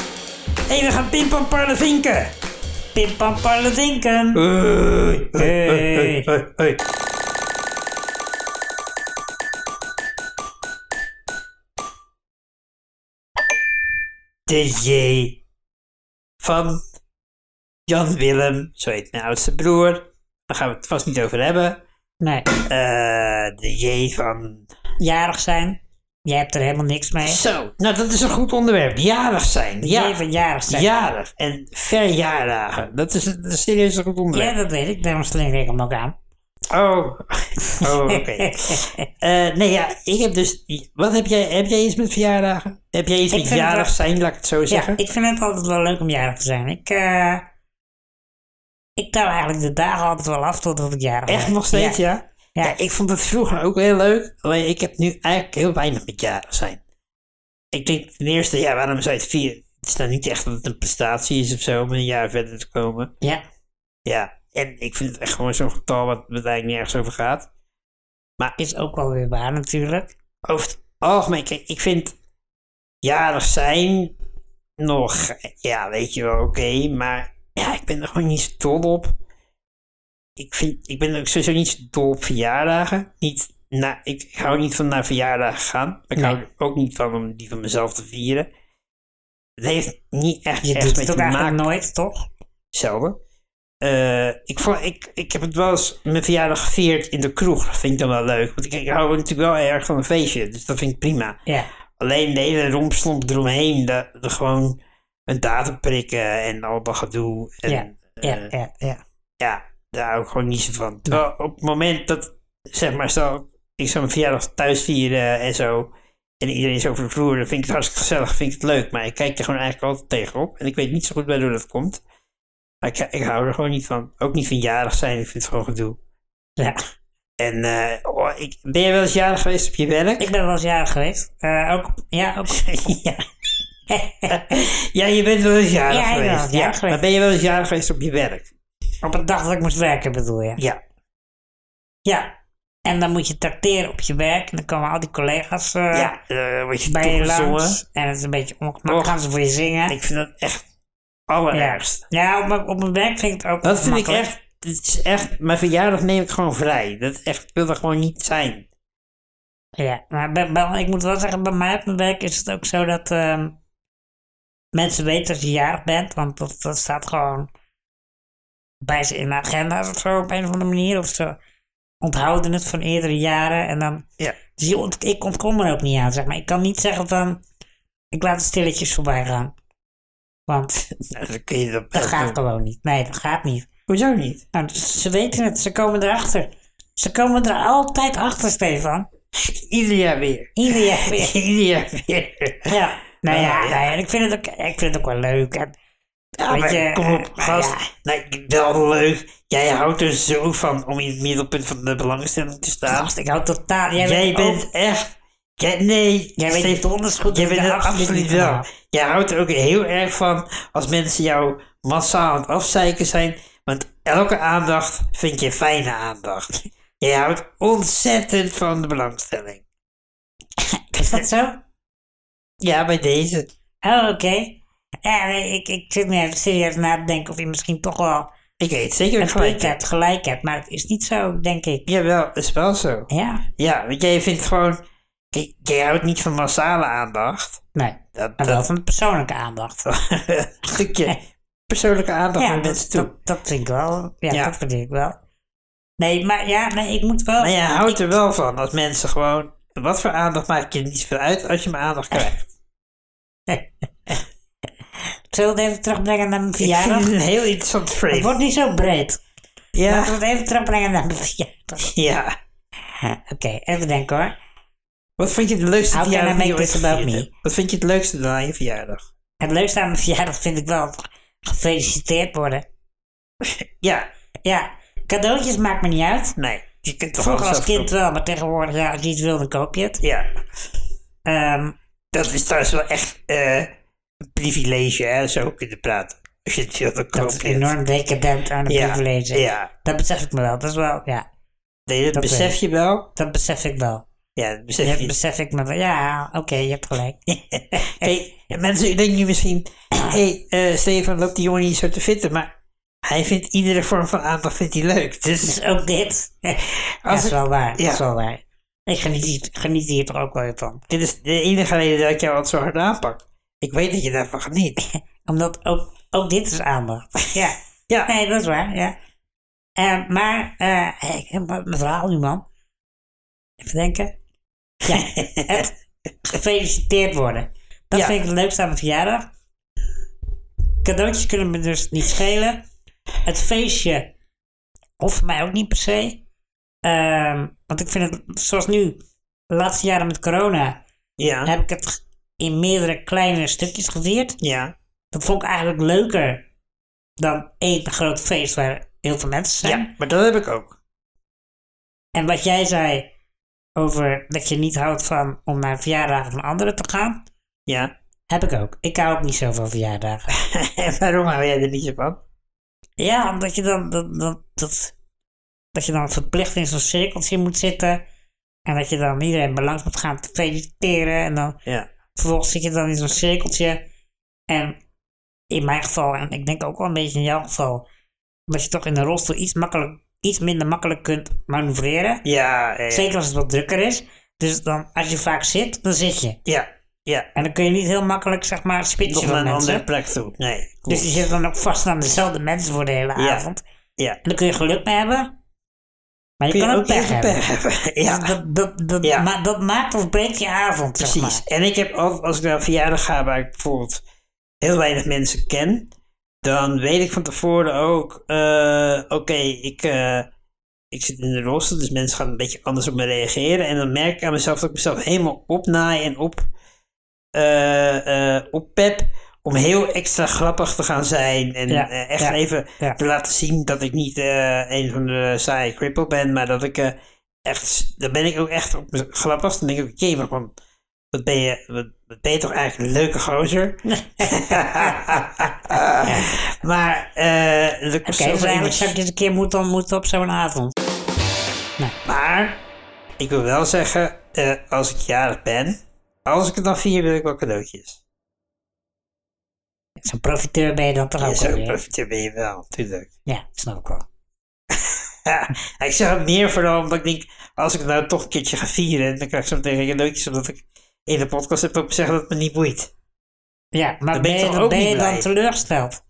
Speaker 1: Hé, we gaan pimpam parlen vinken. Eh.
Speaker 2: Pim pam parlevinken.
Speaker 1: Oei, oei, oei, oei, oei. De J van Jan Willem, zo heet mijn oudste broer. Daar gaan we het vast niet over hebben.
Speaker 2: Nee,
Speaker 1: Eh, de J van.
Speaker 2: jarig zijn. Jij hebt er helemaal niks mee.
Speaker 1: Zo, nou dat is een goed onderwerp. Jarig zijn. Ja,
Speaker 2: Jij van jarig zijn.
Speaker 1: jarig. En verjaardagen. Dat is, dat is serieus een goed onderwerp.
Speaker 2: Ja, dat weet ik. Daarom slinger ik hem ook aan.
Speaker 1: [laughs] Oh, oh oké. Eh, nee, ja, ik heb dus. Wat heb jij? Heb jij iets met verjaardagen? Heb jij iets
Speaker 2: Ik
Speaker 1: met
Speaker 2: vind het
Speaker 1: jarig
Speaker 2: wel-
Speaker 1: zijn, laat ik het zo
Speaker 2: ja,
Speaker 1: zeggen?
Speaker 2: ik vind het altijd wel leuk om jarig te zijn. Ik, eh, ik tel eigenlijk de dagen altijd wel af totdat ik jarig ben.
Speaker 1: Echt nog steeds, ja? Ja.
Speaker 2: Ja.
Speaker 1: ik vond het vroeger ook heel leuk. Alleen ik heb nu eigenlijk heel weinig met jarig zijn. Ik denk ten eerste, ja, waarom zou je het vieren? Het is nou niet echt dat het een prestatie is of zo om een jaar verder te komen.
Speaker 2: Ja.
Speaker 1: Ja, en ik vind het echt gewoon zo'n getal wat wat eigenlijk nergens over gaat.
Speaker 2: Is ook wel weer waar natuurlijk.
Speaker 1: over het algemeen, kijk, ik vind jarig zijn nog, ja, weet je wel, oké, maar ja, ik ben er gewoon niet zo dol op. Ik, vind, ik ben ook sowieso niet zo dol op verjaardagen. Niet na, ik, ik hou niet van naar verjaardagen gaan. Maar Ik
Speaker 2: Nee.
Speaker 1: hou er ook niet van om die van mezelf te vieren. Het heeft niet echt,
Speaker 2: Je
Speaker 1: echt
Speaker 2: doet
Speaker 1: mee
Speaker 2: het
Speaker 1: te
Speaker 2: ook eigenlijk
Speaker 1: maken
Speaker 2: nooit, toch?
Speaker 1: zelden. Eh, ik, vond, ik, ik heb het wel eens mijn verjaardag gevierd in de kroeg. Dat vind ik dan wel leuk. Want ik, ik hou natuurlijk wel erg van een feestje. Dus dat vind ik prima.
Speaker 2: Ja.
Speaker 1: Alleen de hele rompslomp eromheen. De, de gewoon een datum prikken en al dat gedoe. En,
Speaker 2: Ja,
Speaker 1: eh,
Speaker 2: Ja, ja, ja.
Speaker 1: ja, daar hou ik gewoon niet zo van. Terwijl op het moment dat, zeg maar, stel, ik zou mijn verjaardag thuis vieren en zo. En iedereen is over de vloer, dan vind ik het hartstikke gezellig, vind ik het leuk. Maar ik kijk er gewoon eigenlijk altijd tegenop. En ik weet niet zo goed bij hoe dat komt. Maar ik, ik hou er gewoon niet van. Ook niet van jarig zijn, ik vind het gewoon gedoe.
Speaker 2: ja.
Speaker 1: En eh, oh, ik, ben je wel eens jarig geweest op je werk?
Speaker 2: Ik ben wel eens jarig geweest. Eh, ook, ja, ook.
Speaker 1: [laughs] ja. ja, je bent wel eens jarig
Speaker 2: Ja, ik ben wel
Speaker 1: geweest.
Speaker 2: eens jarig geweest.
Speaker 1: Maar ben je wel eens jarig geweest op je werk?
Speaker 2: op een dag dat ik moest werken bedoel je.
Speaker 1: Ja.
Speaker 2: Ja. En dan moet je tracteren op je werk. En dan komen al die collega's eh,
Speaker 1: Ja, eh word je
Speaker 2: bij je
Speaker 1: toegezongen.
Speaker 2: langs. En het is een beetje
Speaker 1: Och.
Speaker 2: ongemakkelijk. Gaan ze voor je zingen.
Speaker 1: Ik vind dat echt
Speaker 2: ja.
Speaker 1: allerergst.
Speaker 2: ja, op mijn- op mijn werk vind ik het ook
Speaker 1: Dat vind ik
Speaker 2: ongemakkelijk.
Speaker 1: echt, het is echt, mijn verjaardag neem ik gewoon vrij. Dat is echt, ik wil er gewoon niet zijn.
Speaker 2: Ja, maar bij- bij- ik moet wel zeggen, bij mij op mijn werk is het ook zo dat ehm, mensen weten dat je jarig bent, want dat, dat staat gewoon bij ze in de agenda's of zo op een of andere manier. Of ze onthouden het van eerdere jaren en dan.
Speaker 1: Ja.
Speaker 2: Dus je ont- ik ontkom er ook niet aan, zeg maar. Ik kan niet zeggen van. Ik laat de stilletjes voorbij gaan. Want
Speaker 1: Nou, dan kun je dat
Speaker 2: dat
Speaker 1: best doen.
Speaker 2: gaat gewoon niet. Nee, dat gaat niet.
Speaker 1: Hoezo niet?
Speaker 2: Nou, ze weten het, ze komen erachter. Ze komen er altijd achter, Stefan.
Speaker 1: Ieder jaar weer. [laughs]
Speaker 2: Ieder jaar weer.
Speaker 1: Ieder jaar weer.
Speaker 2: Ja, nou ja,
Speaker 1: Ja, ja.
Speaker 2: nou ja, en ik vind het ook, ik vind het ook wel leuk. En,
Speaker 1: Ja,
Speaker 2: Weet
Speaker 1: maar
Speaker 2: je,
Speaker 1: kom op,
Speaker 2: eh, maar
Speaker 1: gast.
Speaker 2: ja.
Speaker 1: Nee, wel leuk. Jij houdt er zo van om in het middelpunt van de belangstelling te staan.
Speaker 2: gast, ik hou totaal... Jij,
Speaker 1: Jij
Speaker 2: weet ook-
Speaker 1: bent echt, jij, nee,
Speaker 2: jij weet
Speaker 1: Steve,
Speaker 2: niet donders goed
Speaker 1: Jij
Speaker 2: dat ik
Speaker 1: bent
Speaker 2: daar
Speaker 1: er absoluut
Speaker 2: niet
Speaker 1: wel.
Speaker 2: van hou.
Speaker 1: Jij houdt er ook heel erg van als mensen jou massaal aan het afzeiken zijn. Want elke aandacht vind je fijne aandacht. Jij houdt ontzettend van de belangstelling.
Speaker 2: Is dat zo?
Speaker 1: Ja, bij deze.
Speaker 2: Oh, oké. Ja, nee, ik, ik zit nu even serieus na te denken of je misschien toch wel
Speaker 1: Ik weet zeker
Speaker 2: een
Speaker 1: dat je gelijk.
Speaker 2: punt
Speaker 1: hebt.
Speaker 2: hebt, gelijk hebt. Maar het is niet zo, denk ik.
Speaker 1: Jawel, is wel zo.
Speaker 2: Ja,
Speaker 1: Ja, want jij vindt gewoon... Kijk, jij houdt niet van massale aandacht.
Speaker 2: nee.
Speaker 1: Dat,
Speaker 2: Maar wel
Speaker 1: dat
Speaker 2: van de persoonlijke
Speaker 1: [laughs]
Speaker 2: aandacht.
Speaker 1: een stukje persoonlijke aandacht
Speaker 2: ja,
Speaker 1: naar
Speaker 2: dat,
Speaker 1: mensen
Speaker 2: dat,
Speaker 1: toe.
Speaker 2: dat vind ik wel. Ja,
Speaker 1: Ja.
Speaker 2: dat vind ik wel. Nee, maar ja, nee, ik moet wel...
Speaker 1: Maar jij houdt er wel van als mensen gewoon... Wat voor aandacht maakt je niet veel uit als je maar aandacht krijgt.
Speaker 2: Zullen we het even terugbrengen naar mijn
Speaker 1: Ik vind
Speaker 2: verjaardag?
Speaker 1: het een heel interessant frame.
Speaker 2: Het wordt niet zo breed. Laten
Speaker 1: ja.
Speaker 2: we het even terugbrengen naar mijn verjaardag.
Speaker 1: ja.
Speaker 2: Oké, even denken hoor.
Speaker 1: Wat vind je het leukste
Speaker 2: How can I
Speaker 1: verjaardag die je
Speaker 2: make
Speaker 1: ooit
Speaker 2: this about
Speaker 1: gevierd
Speaker 2: me?
Speaker 1: hebt? Wat vind je het leukste dan aan je verjaardag?
Speaker 2: Het leukste aan mijn verjaardag vind ik wel gefeliciteerd worden.
Speaker 1: Ja,
Speaker 2: Ja, cadeautjes maakt me niet uit.
Speaker 1: nee. Je kunt toch
Speaker 2: Vroeger
Speaker 1: alles
Speaker 2: als kind
Speaker 1: afkopen?
Speaker 2: wel, maar tegenwoordig, ja, als je iets wil, dan koop je het.
Speaker 1: Ja,
Speaker 2: Ehm,
Speaker 1: dat is trouwens wel echt eh, een privilege, hè, zo kunnen praten. Als je het wil, dan koop
Speaker 2: dat is
Speaker 1: je het.
Speaker 2: enorm decadent aan een
Speaker 1: Ja,
Speaker 2: privilege.
Speaker 1: ja.
Speaker 2: Dat besef ik me wel. Dat is wel, ja.
Speaker 1: Nee, dat,
Speaker 2: Dat
Speaker 1: besef
Speaker 2: weet ik.
Speaker 1: je wel.
Speaker 2: Dat besef ik wel.
Speaker 1: Ja, dat besef
Speaker 2: Dat
Speaker 1: je.
Speaker 2: besef ik me wel. Ja, oké, je hebt gelijk. [laughs]
Speaker 1: Hey, mensen denken nu misschien, [clears throat] hé, hey, eh, Stefan loopt die jongen hier zo te fitten, maar hij vindt iedere vorm van aandacht vindt hij leuk. Dus
Speaker 2: Dus ook dit. [laughs] dat is
Speaker 1: ik-
Speaker 2: wel waar.
Speaker 1: ja.
Speaker 2: Dat is wel waar. Ik geniet, hier- geniet hier toch ook wel van.
Speaker 1: dit is de enige reden dat ik jou altijd zo hard aanpak. Ik weet dat je daarvan geniet.
Speaker 2: Omdat ook, ook dit is aandacht. ja.
Speaker 1: Ja.
Speaker 2: Nee, dat is waar, ja. Eh, maar, eh, hey, ik heb mijn verhaal nu, man. Even denken. Ja, het gefeliciteerd worden. Dat
Speaker 1: Ja.
Speaker 2: vind ik het leukste aan mijn verjaardag. Cadeautjes kunnen me dus niet schelen. Het feestje hoeft voor mij ook niet per se. Ehm, want ik vind het, zoals nu, de laatste jaren met corona,
Speaker 1: Ja.
Speaker 2: heb ik het in meerdere kleine stukjes gevierd
Speaker 1: Ja.
Speaker 2: dat vond ik eigenlijk leuker dan één groot feest waar heel veel mensen zijn.
Speaker 1: Ja, maar dat heb ik ook.
Speaker 2: En wat jij zei over dat je niet houdt van om naar verjaardagen van anderen te gaan,
Speaker 1: Ja.
Speaker 2: heb ik ook. Ik hou ook niet zo van verjaardagen.
Speaker 1: En [laughs] waarom hou jij er niet zo van?
Speaker 2: ja, omdat je dan dat, dat, dat, dat je dan verplicht in zo'n cirkeltje moet zitten. En dat je dan iedereen bij langs moet gaan te feliciteren. En dan
Speaker 1: Ja.
Speaker 2: vervolgens zit je dan in zo'n cirkeltje. En in mijn geval, en ik denk ook wel een beetje in jouw geval, dat je toch in een rolstoel iets, makkelijk, iets minder makkelijk kunt manoeuvreren.
Speaker 1: Ja. eh,
Speaker 2: Zeker als het wat drukker is. Dus dan, als je vaak zit, dan zit je.
Speaker 1: Ja. Ja.
Speaker 2: En dan kun je niet heel makkelijk, zeg maar,
Speaker 1: Nog
Speaker 2: spitsen
Speaker 1: naar
Speaker 2: van
Speaker 1: een andere
Speaker 2: mensen.
Speaker 1: plek toe. Nee.
Speaker 2: Dus je zit dan ook vast aan dezelfde mensen voor de hele
Speaker 1: Ja.
Speaker 2: avond.
Speaker 1: Ja.
Speaker 2: En daar kun je geluk mee hebben. Maar je
Speaker 1: Kun je
Speaker 2: kan ook
Speaker 1: ook
Speaker 2: pech
Speaker 1: even
Speaker 2: hebben.
Speaker 1: pech hebben.
Speaker 2: Dus
Speaker 1: [laughs] Ja.
Speaker 2: Dat, dat, dat,
Speaker 1: Ja.
Speaker 2: ma- dat maakt of breekt je avond, zeg
Speaker 1: Precies.
Speaker 2: maar.
Speaker 1: En ik heb altijd, als ik naar een verjaardag ga waar ik bijvoorbeeld heel weinig mensen ken, dan weet ik van tevoren ook, eh, oké, ik, eh, ik zit in de rolstoel, dus mensen gaan een beetje anders op me reageren. En dan merk ik aan mezelf dat ik mezelf helemaal opnaai en op, eh, eh, oppep om heel extra grappig te gaan zijn. En
Speaker 2: Ja,
Speaker 1: eh, echt
Speaker 2: ja,
Speaker 1: even
Speaker 2: ja.
Speaker 1: te laten zien dat ik niet eh, een van de saaie cripple ben, maar dat ik eh, echt, dan ben ik ook echt op mijn grappigst. Dan denk ik, oké, maar man, wat ben je, wat, wat ben je toch eigenlijk een leuke
Speaker 2: [laughs]
Speaker 1: gozer? maar, eh, dat kost
Speaker 2: Oké, dus
Speaker 1: zoveel
Speaker 2: eigenlijk
Speaker 1: energie.
Speaker 2: zou ik dit een keer moeten ontmoeten op zo'n avond.
Speaker 1: maar, ik wil wel zeggen, eh, als ik jarig ben, als ik het dan vier, wil ik wel cadeautjes.
Speaker 2: Zo'n profiteur ben je dan toch
Speaker 1: Ja,
Speaker 2: ook
Speaker 1: zo
Speaker 2: alweer?
Speaker 1: profiteer ben je wel, natuurlijk.
Speaker 2: Ja, snap ik wel.
Speaker 1: Ja, ik zeg het meer vooral omdat ik denk, als ik het nou toch een keertje ga vieren, dan krijg ik zo meteen cadeautjes, omdat ik in de podcast heb ook gezegd dat het me niet boeit.
Speaker 2: Ja, maar
Speaker 1: Dan ben
Speaker 2: ben,
Speaker 1: ik
Speaker 2: je,
Speaker 1: toch
Speaker 2: dan,
Speaker 1: ook
Speaker 2: ben
Speaker 1: niet
Speaker 2: je dan
Speaker 1: blij?
Speaker 2: teleurgesteld?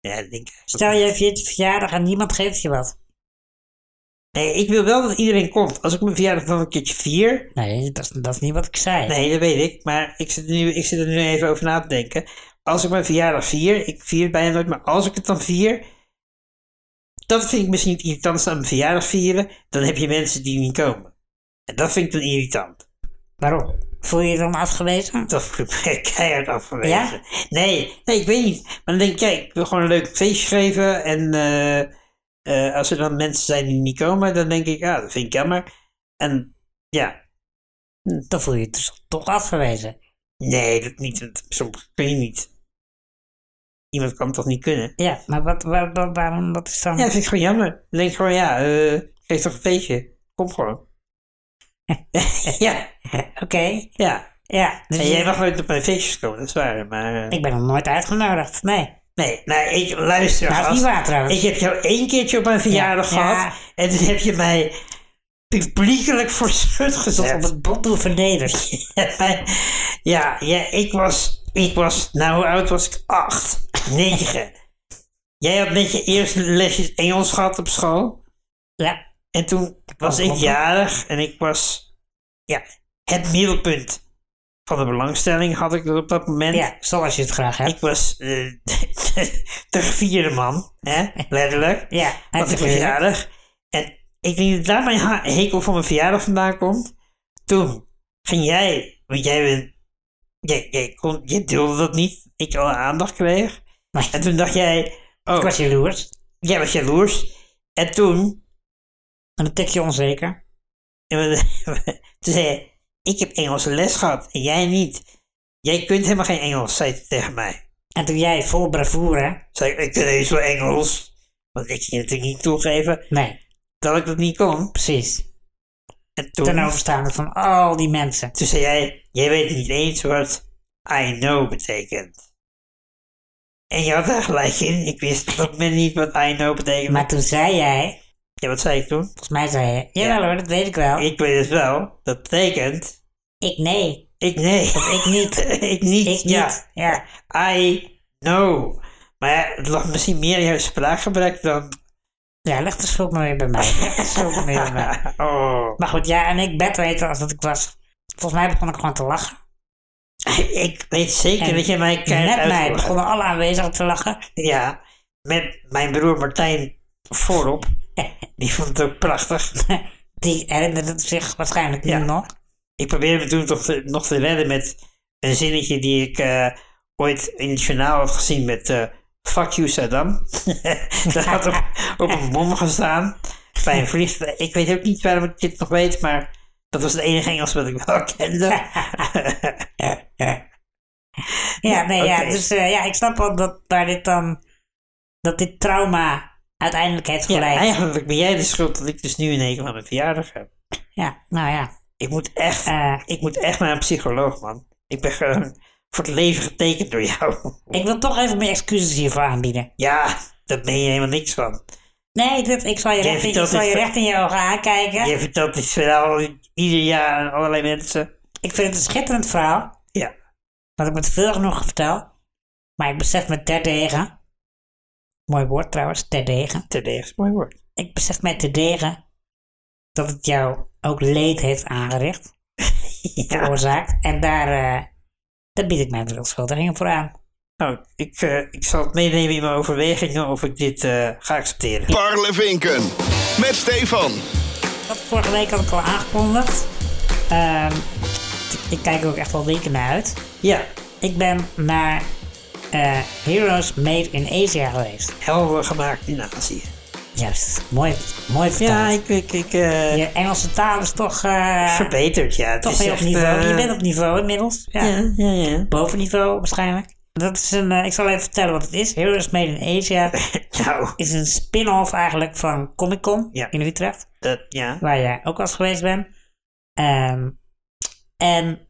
Speaker 1: Ja, ik denk,
Speaker 2: Stel, je viert je verjaardag en niemand geeft je wat.
Speaker 1: Nee, ik wil wel dat iedereen komt. Als ik mijn verjaardag dan een keertje vier,
Speaker 2: Nee, dat, is- dat is niet wat ik zei.
Speaker 1: Nee, dat weet ik. Maar ik zit, er nu, ik zit er nu even over na te denken. Als ik mijn verjaardag vier, ik vier het bijna nooit, maar als ik het dan vier, dat vind ik misschien het irritantste aan mijn verjaardag vieren. Dan heb je mensen die niet komen. En dat vind ik dan irritant.
Speaker 2: Waarom? Voel je je dan afgewezen?
Speaker 1: Dat [laughs] voel ik me keihard afgewezen. Nee, nee, ik weet niet. Maar dan denk ik, kijk, ik wil gewoon een leuk feestje geven. En eh, eh, als er dan mensen zijn die niet komen, dan denk ik, ja, dat vind ik jammer. En ja,
Speaker 2: Dan voel je je dus toch afgewezen.
Speaker 1: Nee, dat niet. want Soms kun je niet. Iemand kan het toch niet kunnen?
Speaker 2: Ja, maar wat, waar- waar- waarom? Wat is dan...
Speaker 1: Ja, dat vind ik gewoon jammer. Dan denk ik gewoon, ja, eh, geef toch een feestje. Kom gewoon. ja,
Speaker 2: [laughs] Oké,
Speaker 1: ja.
Speaker 2: ja. Dus
Speaker 1: En
Speaker 2: je-
Speaker 1: jij mag nooit op mijn feestjes komen, dat is waar. Maar eh,
Speaker 2: Ik ben nog nooit uitgenodigd, nee.
Speaker 1: nee, nou, ik luister.
Speaker 2: Dat is niet
Speaker 1: gast.
Speaker 2: waar trouwens.
Speaker 1: Ik heb jou één keertje op mijn verjaardag
Speaker 2: Ja.
Speaker 1: gehad. En toen heb je mij publiekelijk voor schut
Speaker 2: Tot
Speaker 1: gezet.
Speaker 2: op het bot toe vernederd.
Speaker 1: [laughs] ja, ja ik, was, ik was, nou hoe oud was ik? Acht, negen. Jij had net je eerste lesjes Engels gehad op school.
Speaker 2: ja,
Speaker 1: En toen was ik
Speaker 2: klopt.
Speaker 1: jarig en ik was ja, het middelpunt van de belangstelling had ik dat op dat moment.
Speaker 2: Ja, zoals je het graag hebt.
Speaker 1: Ik was eh, [laughs] de gevierde man, hè? letterlijk.
Speaker 2: ja, hij
Speaker 1: Want ik was
Speaker 2: heeft een kleur.
Speaker 1: jarig. En ik denk dat daar mijn ha- hekel van mijn verjaardag vandaan komt. Toen ging jij, want jij, bent- jij, jij, kon, jij deelde dat niet, ik alle aandacht kreeg.
Speaker 2: Nee.
Speaker 1: En toen dacht jij,
Speaker 2: Ik
Speaker 1: oh,
Speaker 2: was jaloers.
Speaker 1: jij was jaloers. En toen,
Speaker 2: En een tikje onzeker.
Speaker 1: [laughs] toen zei je, ik heb Engelse les gehad en jij niet. Jij kunt helemaal geen Engels, zei je tegen mij.
Speaker 2: En toen jij vol bravoure.
Speaker 1: Zei ik, ik ken eens wel Engels. Want ik ging natuurlijk niet toegeven
Speaker 2: Nee,
Speaker 1: dat ik dat niet kon.
Speaker 2: precies.
Speaker 1: En toen,
Speaker 2: Ten overstaande van al die mensen.
Speaker 1: Toen zei jij, jij weet niet eens wat I know betekent. En je had daar gelijk in. Ik wist op dat moment niet wat I know betekent.
Speaker 2: Maar toen zei jij,
Speaker 1: Ja, wat zei ik toen?
Speaker 2: volgens mij zei je, jawel hoor, dat weet ik wel. Ik,
Speaker 1: Ik weet het wel. Dat betekent,
Speaker 2: nee,
Speaker 1: ik nee.
Speaker 2: ik [laughs] niet.
Speaker 1: ik niet.
Speaker 2: Ik
Speaker 1: ja.
Speaker 2: niet. Ja,
Speaker 1: I know. Maar ja, het lag misschien meer in jouw spraakgebrek dan...
Speaker 2: ja leg de schuld maar weer bij mij. Leg de schuld maar weer bij
Speaker 1: [laughs]
Speaker 2: mij. [laughs]
Speaker 1: Oh.
Speaker 2: Maar goed, ja, en ik bedweten als dat ik was. Volgens mij begon ik gewoon te lachen.
Speaker 1: Ik weet zeker
Speaker 2: En
Speaker 1: dat jij mij keihard
Speaker 2: Met mij
Speaker 1: uitlacht.
Speaker 2: begonnen alle aanwezigen te lachen. [laughs]
Speaker 1: Ja, met mijn broer Martijn voorop. Die vond het ook prachtig.
Speaker 2: Die herinnerde het zich waarschijnlijk
Speaker 1: Ja.
Speaker 2: nu nog.
Speaker 1: Ik probeerde me toen toch te- nog te redden met een zinnetje die ik eh, ooit in het journaal had gezien met eh, Fuck you Saddam. [laughs] Dat had op, op een bom gestaan bij een vliegtuig. Ik weet ook niet waarom ik dit nog weet, maar dat was het enige Engels wat ik wel [laughs] kende.
Speaker 2: Ja, nee, ja.
Speaker 1: Oké.
Speaker 2: Dus eh, ja, ik snap wel dat waar dit dan... Dat dit trauma uiteindelijk heeft
Speaker 1: Ja,
Speaker 2: geleid. Ja,
Speaker 1: eigenlijk ben jij de schuld dat ik dus nu een hekel aan mijn verjaardag heb.
Speaker 2: nou ja.
Speaker 1: Ik moet echt,
Speaker 2: Eh,
Speaker 1: ik moet echt naar een psycholoog, man. Ik ben gewoon voor het leven getekend door jou. [laughs]
Speaker 2: ik wil toch even mijn excuses hiervoor aanbieden.
Speaker 1: Ja, daar ben je helemaal niks van.
Speaker 2: Nee, dit, ik zal je,
Speaker 1: Jij
Speaker 2: recht in, ik
Speaker 1: vertelt
Speaker 2: zal je
Speaker 1: dit-
Speaker 2: recht in je ogen aankijken.
Speaker 1: Je vertelt dus dit verhaal ieder jaar aan allerlei mensen.
Speaker 2: Ik vind het een schitterend verhaal.
Speaker 1: Ja.
Speaker 2: Wat ik met veel genoegen vertel. Maar ik besef me terdege... Mooi woord trouwens, terdege.
Speaker 1: Terdege is een mooi woord.
Speaker 2: ik besef mij te degen dat het jou ook leed heeft aangericht,
Speaker 1: [laughs] Ja.
Speaker 2: veroorzaakt. En daar, eh, daar bied ik mijn verontschuldigingen voor aan.
Speaker 1: Nou, ik, eh, ik zal het meenemen in mijn overwegingen of ik dit eh, ga accepteren.
Speaker 4: Parlevinken. Met Stefan.
Speaker 2: Dat vorige week had ik al aangekondigd. Ehm, ik kijk er ook echt wel weken naar uit.
Speaker 1: Ja,
Speaker 2: Ik ben naar eh, Heroes Made in Asia geweest.
Speaker 1: helder gemaakt in Azië.
Speaker 2: Juist, mooi, mooi
Speaker 1: Ja, ik,
Speaker 2: vertaald.
Speaker 1: ik, ik eh,
Speaker 2: Je Engelse taal is toch, eh,
Speaker 1: verbeterd. Ja, het
Speaker 2: toch
Speaker 1: is
Speaker 2: weer op
Speaker 1: echt,
Speaker 2: niveau.
Speaker 1: eh,
Speaker 2: Je bent op niveau inmiddels.
Speaker 1: Ja, ja, ja.
Speaker 2: bovenniveau waarschijnlijk. Dat is een, eh, ik zal even vertellen wat het is. Heroes Made
Speaker 1: [laughs]
Speaker 2: in Asia
Speaker 1: [laughs] Nou,
Speaker 2: is een spin-off eigenlijk van Comic Con
Speaker 1: Ja.
Speaker 2: in Utrecht,
Speaker 1: dat, ja.
Speaker 2: waar jij ook al eens geweest bent. Ehm, en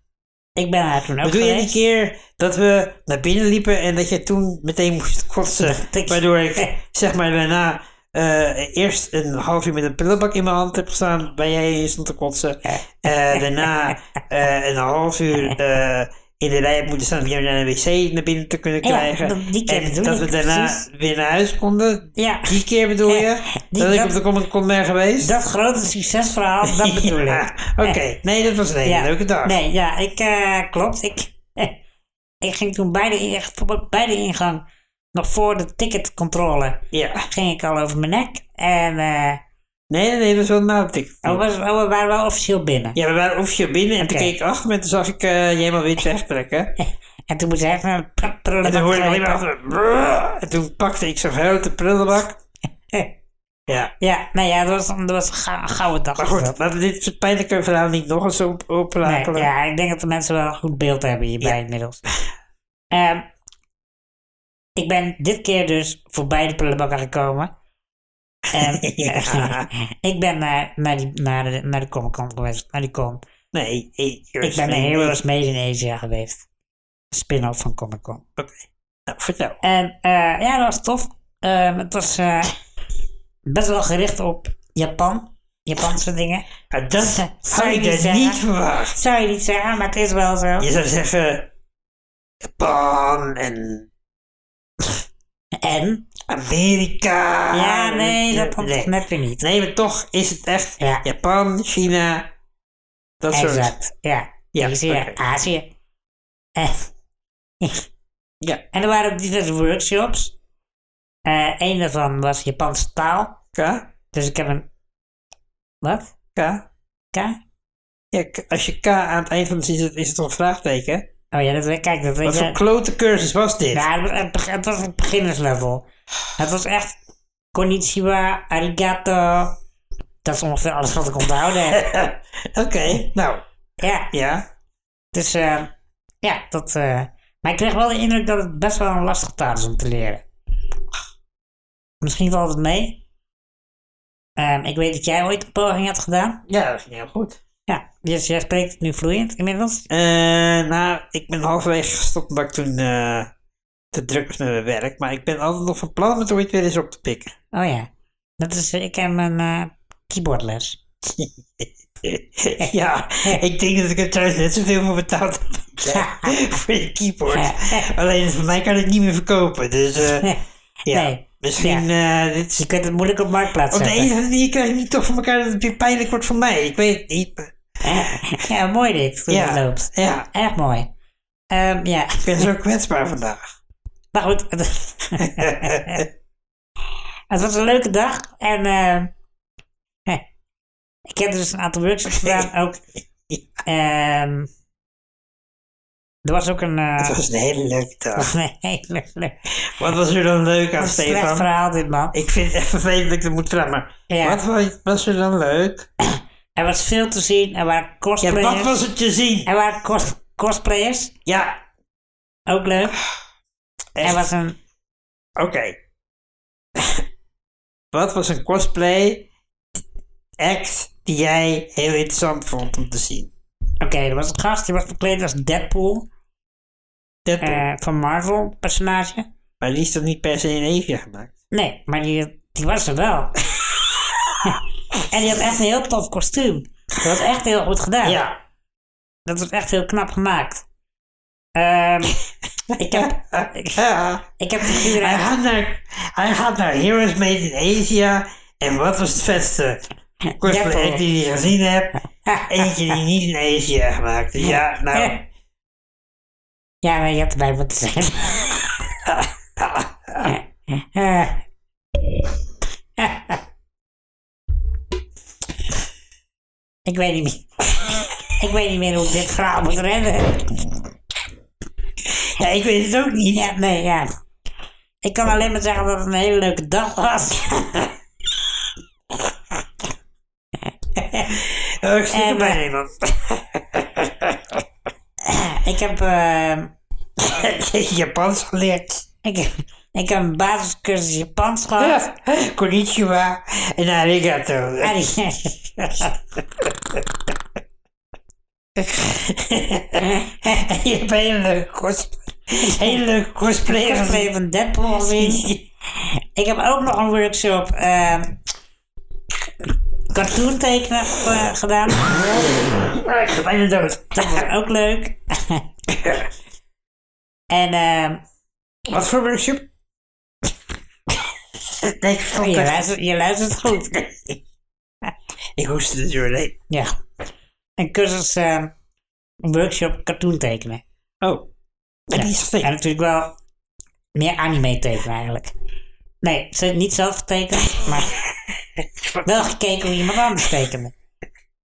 Speaker 2: ik ben daar toen ook
Speaker 1: Bedoel je die
Speaker 2: geweest.
Speaker 1: keer dat we naar binnen liepen en dat je toen meteen moest kotsen?
Speaker 2: ik-
Speaker 1: waardoor
Speaker 2: [laughs]
Speaker 1: ik, zeg maar, daarna eh, eerst een half uur met een prullenbak in mijn hand heb gestaan, waar jij stond te kotsen. Eh, daarna eh, een half uur eh, in de rij heb moeten staan om jou naar de wc naar binnen te kunnen
Speaker 2: Ja,
Speaker 1: krijgen.
Speaker 2: dat- die keer
Speaker 1: en
Speaker 2: bedoel
Speaker 1: dat we
Speaker 2: ik,
Speaker 1: daarna
Speaker 2: precies.
Speaker 1: weer naar huis konden.
Speaker 2: Ja,
Speaker 1: Die keer bedoel je?
Speaker 2: Die-
Speaker 1: dat, ik
Speaker 2: dat-
Speaker 1: op de Comic Con ben geweest?
Speaker 2: dat grote
Speaker 1: [laughs]
Speaker 2: succesverhaal, dat bedoel
Speaker 1: Ja,
Speaker 2: ik.
Speaker 1: Oké, nee, dat was een hele
Speaker 2: Ja.
Speaker 1: leuke dag.
Speaker 2: Nee, ja, ik, eh, klopt. Ik, [laughs] ik ging toen bij de, ingang- bij de ingang, nog voor de ticketcontrole,
Speaker 1: Ja.
Speaker 2: ging ik al over mijn nek. En eh
Speaker 1: Nee, nee, nee, dat was wel na de ticket.
Speaker 2: oh, was, oh, we waren wel officieel binnen.
Speaker 1: Ja, we waren officieel binnen en toen
Speaker 2: Oké.
Speaker 1: keek ik achter me en toen zag ik eh, je helemaal wit
Speaker 2: [laughs]
Speaker 1: wegtrekken.
Speaker 2: En toen moest hij even een pr- prullenbak
Speaker 1: En toen hoorde ik alleen maar
Speaker 2: grijpen.
Speaker 1: achter me, "Brrr." En toen pakte ik zo'n grote prullenbak.
Speaker 2: [laughs]
Speaker 1: Ja.
Speaker 2: Ja, nou ja, dat was, dat was een gou- een gouden dag.
Speaker 1: Maar
Speaker 2: was
Speaker 1: goed,
Speaker 2: dat.
Speaker 1: laten we dit soort pijnlijke verhaal niet nog eens op oprakelen.
Speaker 2: Nee, ja, ik denk dat de mensen wel een goed beeld hebben hierbij inmiddels. Ehm, ik ben dit keer dus voorbij de prullenbakken gekomen. [laughs] En
Speaker 1: Ja.
Speaker 2: ik ben naar, naar, die, naar, de, naar de Comic Con geweest, naar die con.
Speaker 1: Nee, ik,
Speaker 2: Ik ben naar Heroes Made in Asia geweest. Een Spin-off van Comic Con.
Speaker 1: Nou, vertel.
Speaker 2: En eh, ja, dat was tof. Ehm, het was [laughs] eh, best wel gericht op Japan. Japanse dingen.
Speaker 1: Maar dat
Speaker 2: Zou-
Speaker 1: had
Speaker 2: zou
Speaker 1: ik
Speaker 2: je niet
Speaker 1: dus niet
Speaker 2: zeggen?
Speaker 1: verwacht.
Speaker 2: Zou je niet zeggen, maar het is wel zo.
Speaker 1: Je zou zeggen, Japan en
Speaker 2: En?
Speaker 1: Amerika.
Speaker 2: ja, nee,
Speaker 1: en-
Speaker 2: dat komt
Speaker 1: Ah, nee.
Speaker 2: toch net weer niet.
Speaker 1: Nee, maar toch is het echt
Speaker 2: Ja.
Speaker 1: Japan, China, dat soort.
Speaker 2: exact, ja.
Speaker 1: Ja,
Speaker 2: Azië,
Speaker 1: oké.
Speaker 2: Azië. Eh,
Speaker 1: Ja.
Speaker 2: en er waren ook diverse workshops. Eh een daarvan was Japanse taal.
Speaker 1: K?
Speaker 2: Dus ik heb een... Wat?
Speaker 1: K?
Speaker 2: K?
Speaker 1: Ja, k- als je K aan het eind van de zin zet, is het toch een vraagteken?
Speaker 2: Oh ja, dat, weet- kijk, dat weet
Speaker 1: Wat voor
Speaker 2: je...
Speaker 1: klote cursus was dit?
Speaker 2: Ja, het, het, het was een beginnerslevel. Het was echt... Konnichiwa, arigato. Dat is ongeveer alles wat ik onthouden
Speaker 1: [laughs]
Speaker 2: heb.
Speaker 1: Oké, nou,
Speaker 2: ja,
Speaker 1: ja.
Speaker 2: dus... eh, ja, dat... eh, maar ik kreeg wel de indruk dat het best wel een lastige taal is om te leren. Misschien valt het mee. Ehm, ik weet dat jij ooit een poging hebt gedaan.
Speaker 1: Ja, dat ging heel goed.
Speaker 2: Ja, dus jij spreekt het nu vloeiend inmiddels.
Speaker 1: Eh, nou, ik ben halverwege gestopt omdat ik toen eh, te druk was met mijn werk. Maar ik ben altijd nog van plan om het ooit weer eens op te pikken.
Speaker 2: Oh ja, dat is... Ik heb een eh, keyboardles. [laughs]
Speaker 1: ja, ik denk dat ik er trouwens net zoveel voor betaald heb. [laughs] voor je keyboard. Alleen voor mij kan ik het niet meer verkopen. Dus eh, ja,
Speaker 2: Nee.
Speaker 1: misschien eh, dit is
Speaker 2: Je kunt het moeilijk op marktplaats
Speaker 1: Op de
Speaker 2: zetten.
Speaker 1: een of andere manier krijg ik niet toch voor elkaar dat het weer pijnlijk wordt voor mij. Ik weet het niet. maar-
Speaker 2: Ja, mooi dit, hoe
Speaker 1: Ja.
Speaker 2: het loopt.
Speaker 1: Ja,
Speaker 2: Erg mooi. Ehm, ja,
Speaker 1: ik ben zo kwetsbaar vandaag.
Speaker 2: maar goed. [laughs] het was een leuke dag en ehm, eh, ik heb dus een aantal workshops
Speaker 1: [laughs]
Speaker 2: gedaan ook. Ehm, er was ook een...
Speaker 1: Het
Speaker 2: eh,
Speaker 1: was een hele leuke dag.
Speaker 2: [laughs] een hele leuke...
Speaker 1: Wat was er dan leuk aan,
Speaker 2: Een slecht
Speaker 1: Stefan?
Speaker 2: verhaal dit man.
Speaker 1: Ik vind het echt vervelend dat ik dat moet vragen, maar
Speaker 2: Ja.
Speaker 1: wat wa- was er dan leuk?
Speaker 2: Er was veel te zien, er waren
Speaker 1: Ja,
Speaker 2: cosplayers.
Speaker 1: wat was er te zien?
Speaker 2: Er waren cos- cosplayers,
Speaker 1: Ja,
Speaker 2: ook leuk. Er
Speaker 1: Echt?
Speaker 2: was een
Speaker 1: oké. wat was een cosplay act die jij heel interessant vond om te zien?
Speaker 2: Oké, er was een gast die was verkleed als Deadpool
Speaker 1: Dat
Speaker 2: eh, van Marvel personage.
Speaker 1: Maar die is toch niet per se in Evia gemaakt?
Speaker 2: Nee, maar die, die was er
Speaker 1: [laughs]
Speaker 2: wel. en die had echt een heel tof kostuum. Dat was echt heel goed gedaan.
Speaker 1: Ja.
Speaker 2: Dat was echt heel knap gemaakt.
Speaker 1: [laughs]
Speaker 2: Ehm, ik, heb,
Speaker 1: ja.
Speaker 2: ik heb figuren
Speaker 1: Hij
Speaker 2: uit...
Speaker 1: gaat, naar, hij gaat naar Heroes Made in Asia. En wat was het vetste? Cosplay
Speaker 2: Deadpool.
Speaker 1: act die je gezien hebt. Eentje die niet in Asia gemaakt is. Ja, nou.
Speaker 2: Ja, maar je hebt erbij moeten zijn. Eh. ik weet niet meer. ik weet niet meer hoe ik dit verhaal moet redden.
Speaker 1: Ja, ik weet het ook niet.
Speaker 2: Ja, nee, ja. Ik kan alleen maar zeggen dat het een hele leuke dag was.
Speaker 1: Oh, ik stik
Speaker 2: En,
Speaker 1: er bij
Speaker 2: eh,
Speaker 1: iemand. [laughs]
Speaker 2: ik heb... eh,
Speaker 1: Japans geleerd. [laughs]
Speaker 2: ik, ik heb een basiscursus Japans gehad.
Speaker 1: Konnichiwa en arigato.
Speaker 2: En ik-
Speaker 1: Je hebt een hele leuke cosplay. Hele leuke cosplay.
Speaker 2: cosplay van Deadpool gezien. ik heb ook nog een workshop ehm cartoon tekenen eh, gedaan.
Speaker 1: Ik ga bijna dood.
Speaker 2: Dat was [laughs] ook leuk. en ehm
Speaker 1: Wat voor workshop? Nee, ik verstond
Speaker 2: Oh, je,
Speaker 1: het.
Speaker 2: luistert, je luistert goed.
Speaker 1: Ik hoestte er doorheen.
Speaker 2: ja. Een cursus, ehm, een workshop cartoon tekenen.
Speaker 1: Oh. En die is fake.
Speaker 2: En natuurlijk wel meer anime tekenen eigenlijk. Nee, ze niet zelf getekend, maar wel gekeken hoe iemand anders tekende.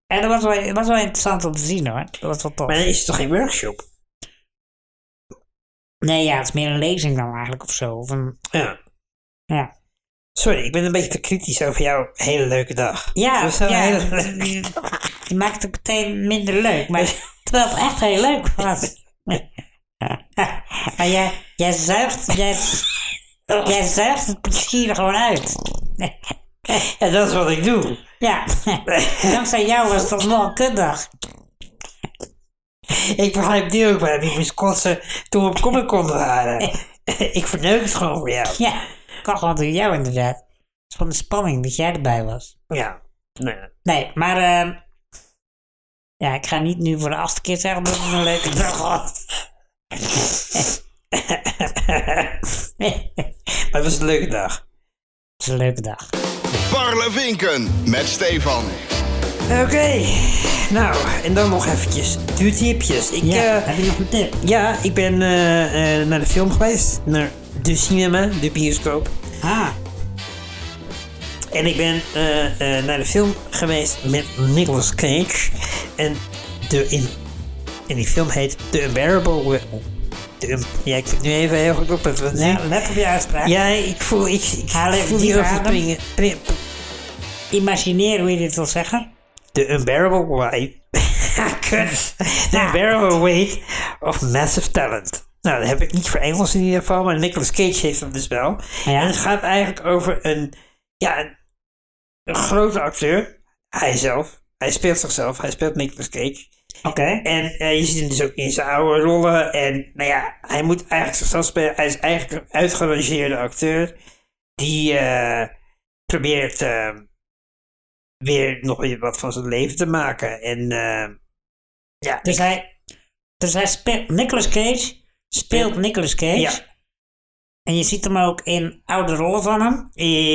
Speaker 2: En dat was wel, dat was wel interessant om te zien hoor. Dat was wel tof.
Speaker 1: Maar dan is het toch geen workshop?
Speaker 2: Nee, ja, het is meer een lezing dan eigenlijk of zo. Of een,
Speaker 1: Ja.
Speaker 2: ja.
Speaker 1: Sorry, ik ben een beetje te kritisch over jouw hele leuke dag.
Speaker 2: Ja,
Speaker 1: Het was wel
Speaker 2: ja.
Speaker 1: een hele...
Speaker 2: [laughs] Je maakt het meteen minder
Speaker 1: [laughs]
Speaker 2: leuk, maar terwijl het echt heel leuk was. maar jij, jij zuigt,
Speaker 1: [laughs]
Speaker 2: jij, jij zuigt het plezier er gewoon uit. [laughs]
Speaker 1: Ja, dat is wat ik doe. [laughs]
Speaker 2: Ja, dankzij jou was dat nog een kutdag.
Speaker 1: Ik begrijp nu ook waarom je moest kotsen toen we op Comic Con
Speaker 2: [laughs]
Speaker 1: waren. ik verneuk het gewoon voor jou.
Speaker 2: Ja, kan gewoon door jou inderdaad. Het is van de spanning dat jij erbij was.
Speaker 1: Ja. Nee.
Speaker 2: Nee, maar ehm, ja, ik ga niet nu voor de achtste keer zeggen dat het een leuke dag was. Het
Speaker 1: Maar het was een leuke dag.
Speaker 2: is een leuke dag.
Speaker 4: Parlevinken met Stefan.
Speaker 1: Oké, Nou, en dan nog eventjes de tipjes. Ik,
Speaker 2: Ja,
Speaker 1: eh,
Speaker 2: heb je nog een tip?
Speaker 1: ja, ik ben eh, eh, naar de film geweest. Naar de cinema, de bioscoop.
Speaker 2: Ah,
Speaker 1: En ik ben eh, eh, naar de film geweest met Nicolas Cage. En, de in, en die film heet The Unbearable Wo- The Un- ja, ik vind het nu even heel goed op. Het,
Speaker 2: ja, let op je uitspraak.
Speaker 1: Ja, ik voel, ik, ik
Speaker 2: Haal even
Speaker 1: voel die
Speaker 2: diep
Speaker 1: over
Speaker 2: adem.
Speaker 1: springen. Nee,
Speaker 2: Imagineer hoe je dit wil zeggen.
Speaker 1: The unbearable weight. [laughs] Kut. The unbearable weight of massive talent. Nou, dat heb ik niet voor Engels in ieder geval, maar Nicolas Cage heeft dat dus wel.
Speaker 2: Ja.
Speaker 1: En het gaat eigenlijk over een, ja, een, een grote acteur. Hij zelf. Hij speelt zichzelf. Hij speelt Nicolas Cage.
Speaker 2: Oké.
Speaker 1: En eh, je ziet hem dus ook in zijn oude rollen. En nou ja, hij moet eigenlijk zichzelf spelen. Hij is eigenlijk een uitgerangeerde acteur. Die eh, probeert eh, weer nog weer wat van zijn leven te maken. En eh, ja,
Speaker 2: Dus hij, dus hij speelt Nicolas Cage, speelt Nicolas Cage.
Speaker 1: Ja.
Speaker 2: En je ziet hem ook in oude rollen van hem.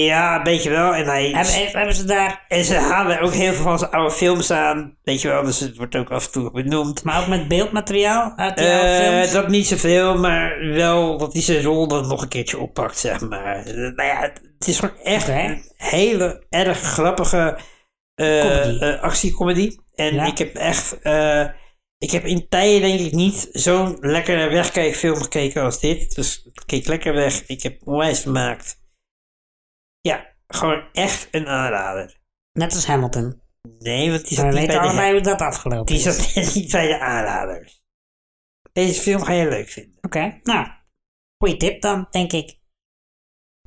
Speaker 1: ja, een beetje wel. En, hij,
Speaker 2: Hebben, heeft- hebben ze daar,
Speaker 1: en ze halen ook heel veel van zijn oude films aan. Weet je wel, dus het wordt ook af en toe benoemd.
Speaker 2: maar ook met beeldmateriaal uit die oude
Speaker 1: Eh,
Speaker 2: films.
Speaker 1: dat niet zoveel, maar wel dat hij zijn rol dan nog een keertje oppakt, zeg maar. Eh, Nou ja, het- het is gewoon echt
Speaker 2: Oké.
Speaker 1: een hele erg grappige eh,
Speaker 2: Comedy.
Speaker 1: eh, actiecomedy. En
Speaker 2: Ja.
Speaker 1: ik heb echt, eh, ik heb in tijden denk ik niet zo'n lekkere wegkijkfilm gekeken als dit. Dus ik keek lekker weg, ik heb onwijs gemaakt. Ja, gewoon echt een aanrader.
Speaker 2: Net als Hamilton.
Speaker 1: Nee, want die
Speaker 2: Maar
Speaker 1: zat,
Speaker 2: we
Speaker 1: niet bij,
Speaker 2: weten allebei
Speaker 1: de,
Speaker 2: hoe dat afgelopen
Speaker 1: die
Speaker 2: is.
Speaker 1: zat [laughs] niet bij de aanraders. Deze film ga je leuk vinden.
Speaker 2: Oké, nou. Goeie tip dan, denk ik.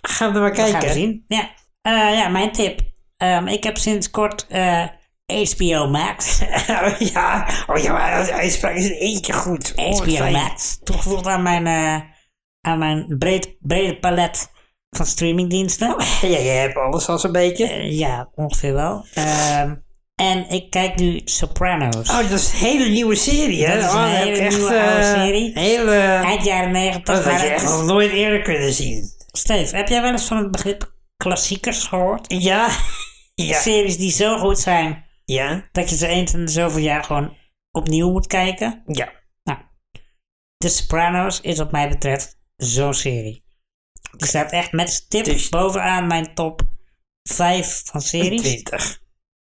Speaker 1: Gaan we maar
Speaker 2: Dat
Speaker 1: kijken.
Speaker 2: gaan we zien. Ja, Eh, ja mijn tip. Ehm, ik heb sinds kort eh, HBO Max.
Speaker 1: [laughs] Oh [laughs] ja, oh ja, maar de uitspraak is in één keer goed. Oh, wat
Speaker 2: HBO
Speaker 1: fijn.
Speaker 2: Max. Toegevoegd aan mijn, eh, aan mijn breed, brede palet van streamingdiensten.
Speaker 1: Ja, jij hebt alles al zo'n beetje.
Speaker 2: Eh, [laughs] ja, ongeveer wel. Ehm, en ik kijk nu Sopranos.
Speaker 1: Oh, dat is een hele nieuwe serie, hè?
Speaker 2: Dat is een
Speaker 1: Oh, heb
Speaker 2: hele
Speaker 1: ik echt,
Speaker 2: nieuwe oude
Speaker 1: eh,
Speaker 2: serie.
Speaker 1: Hele...
Speaker 2: Eind jaren
Speaker 1: Dat
Speaker 2: negentig.
Speaker 1: had je echt nog nooit eerder kunnen zien.
Speaker 2: Steve, heb jij wel eens van het begrip klassiekers gehoord? [laughs]
Speaker 1: Ja, ja,
Speaker 2: Series die zo goed zijn
Speaker 1: ja,
Speaker 2: dat je ze eens in de zoveel jaar gewoon opnieuw moet kijken.
Speaker 1: ja.
Speaker 2: The Sopranos is wat mij betreft zo'n serie. Die staat echt met z'n tip
Speaker 1: Dus-
Speaker 2: bovenaan mijn top 5 van series.
Speaker 1: 20.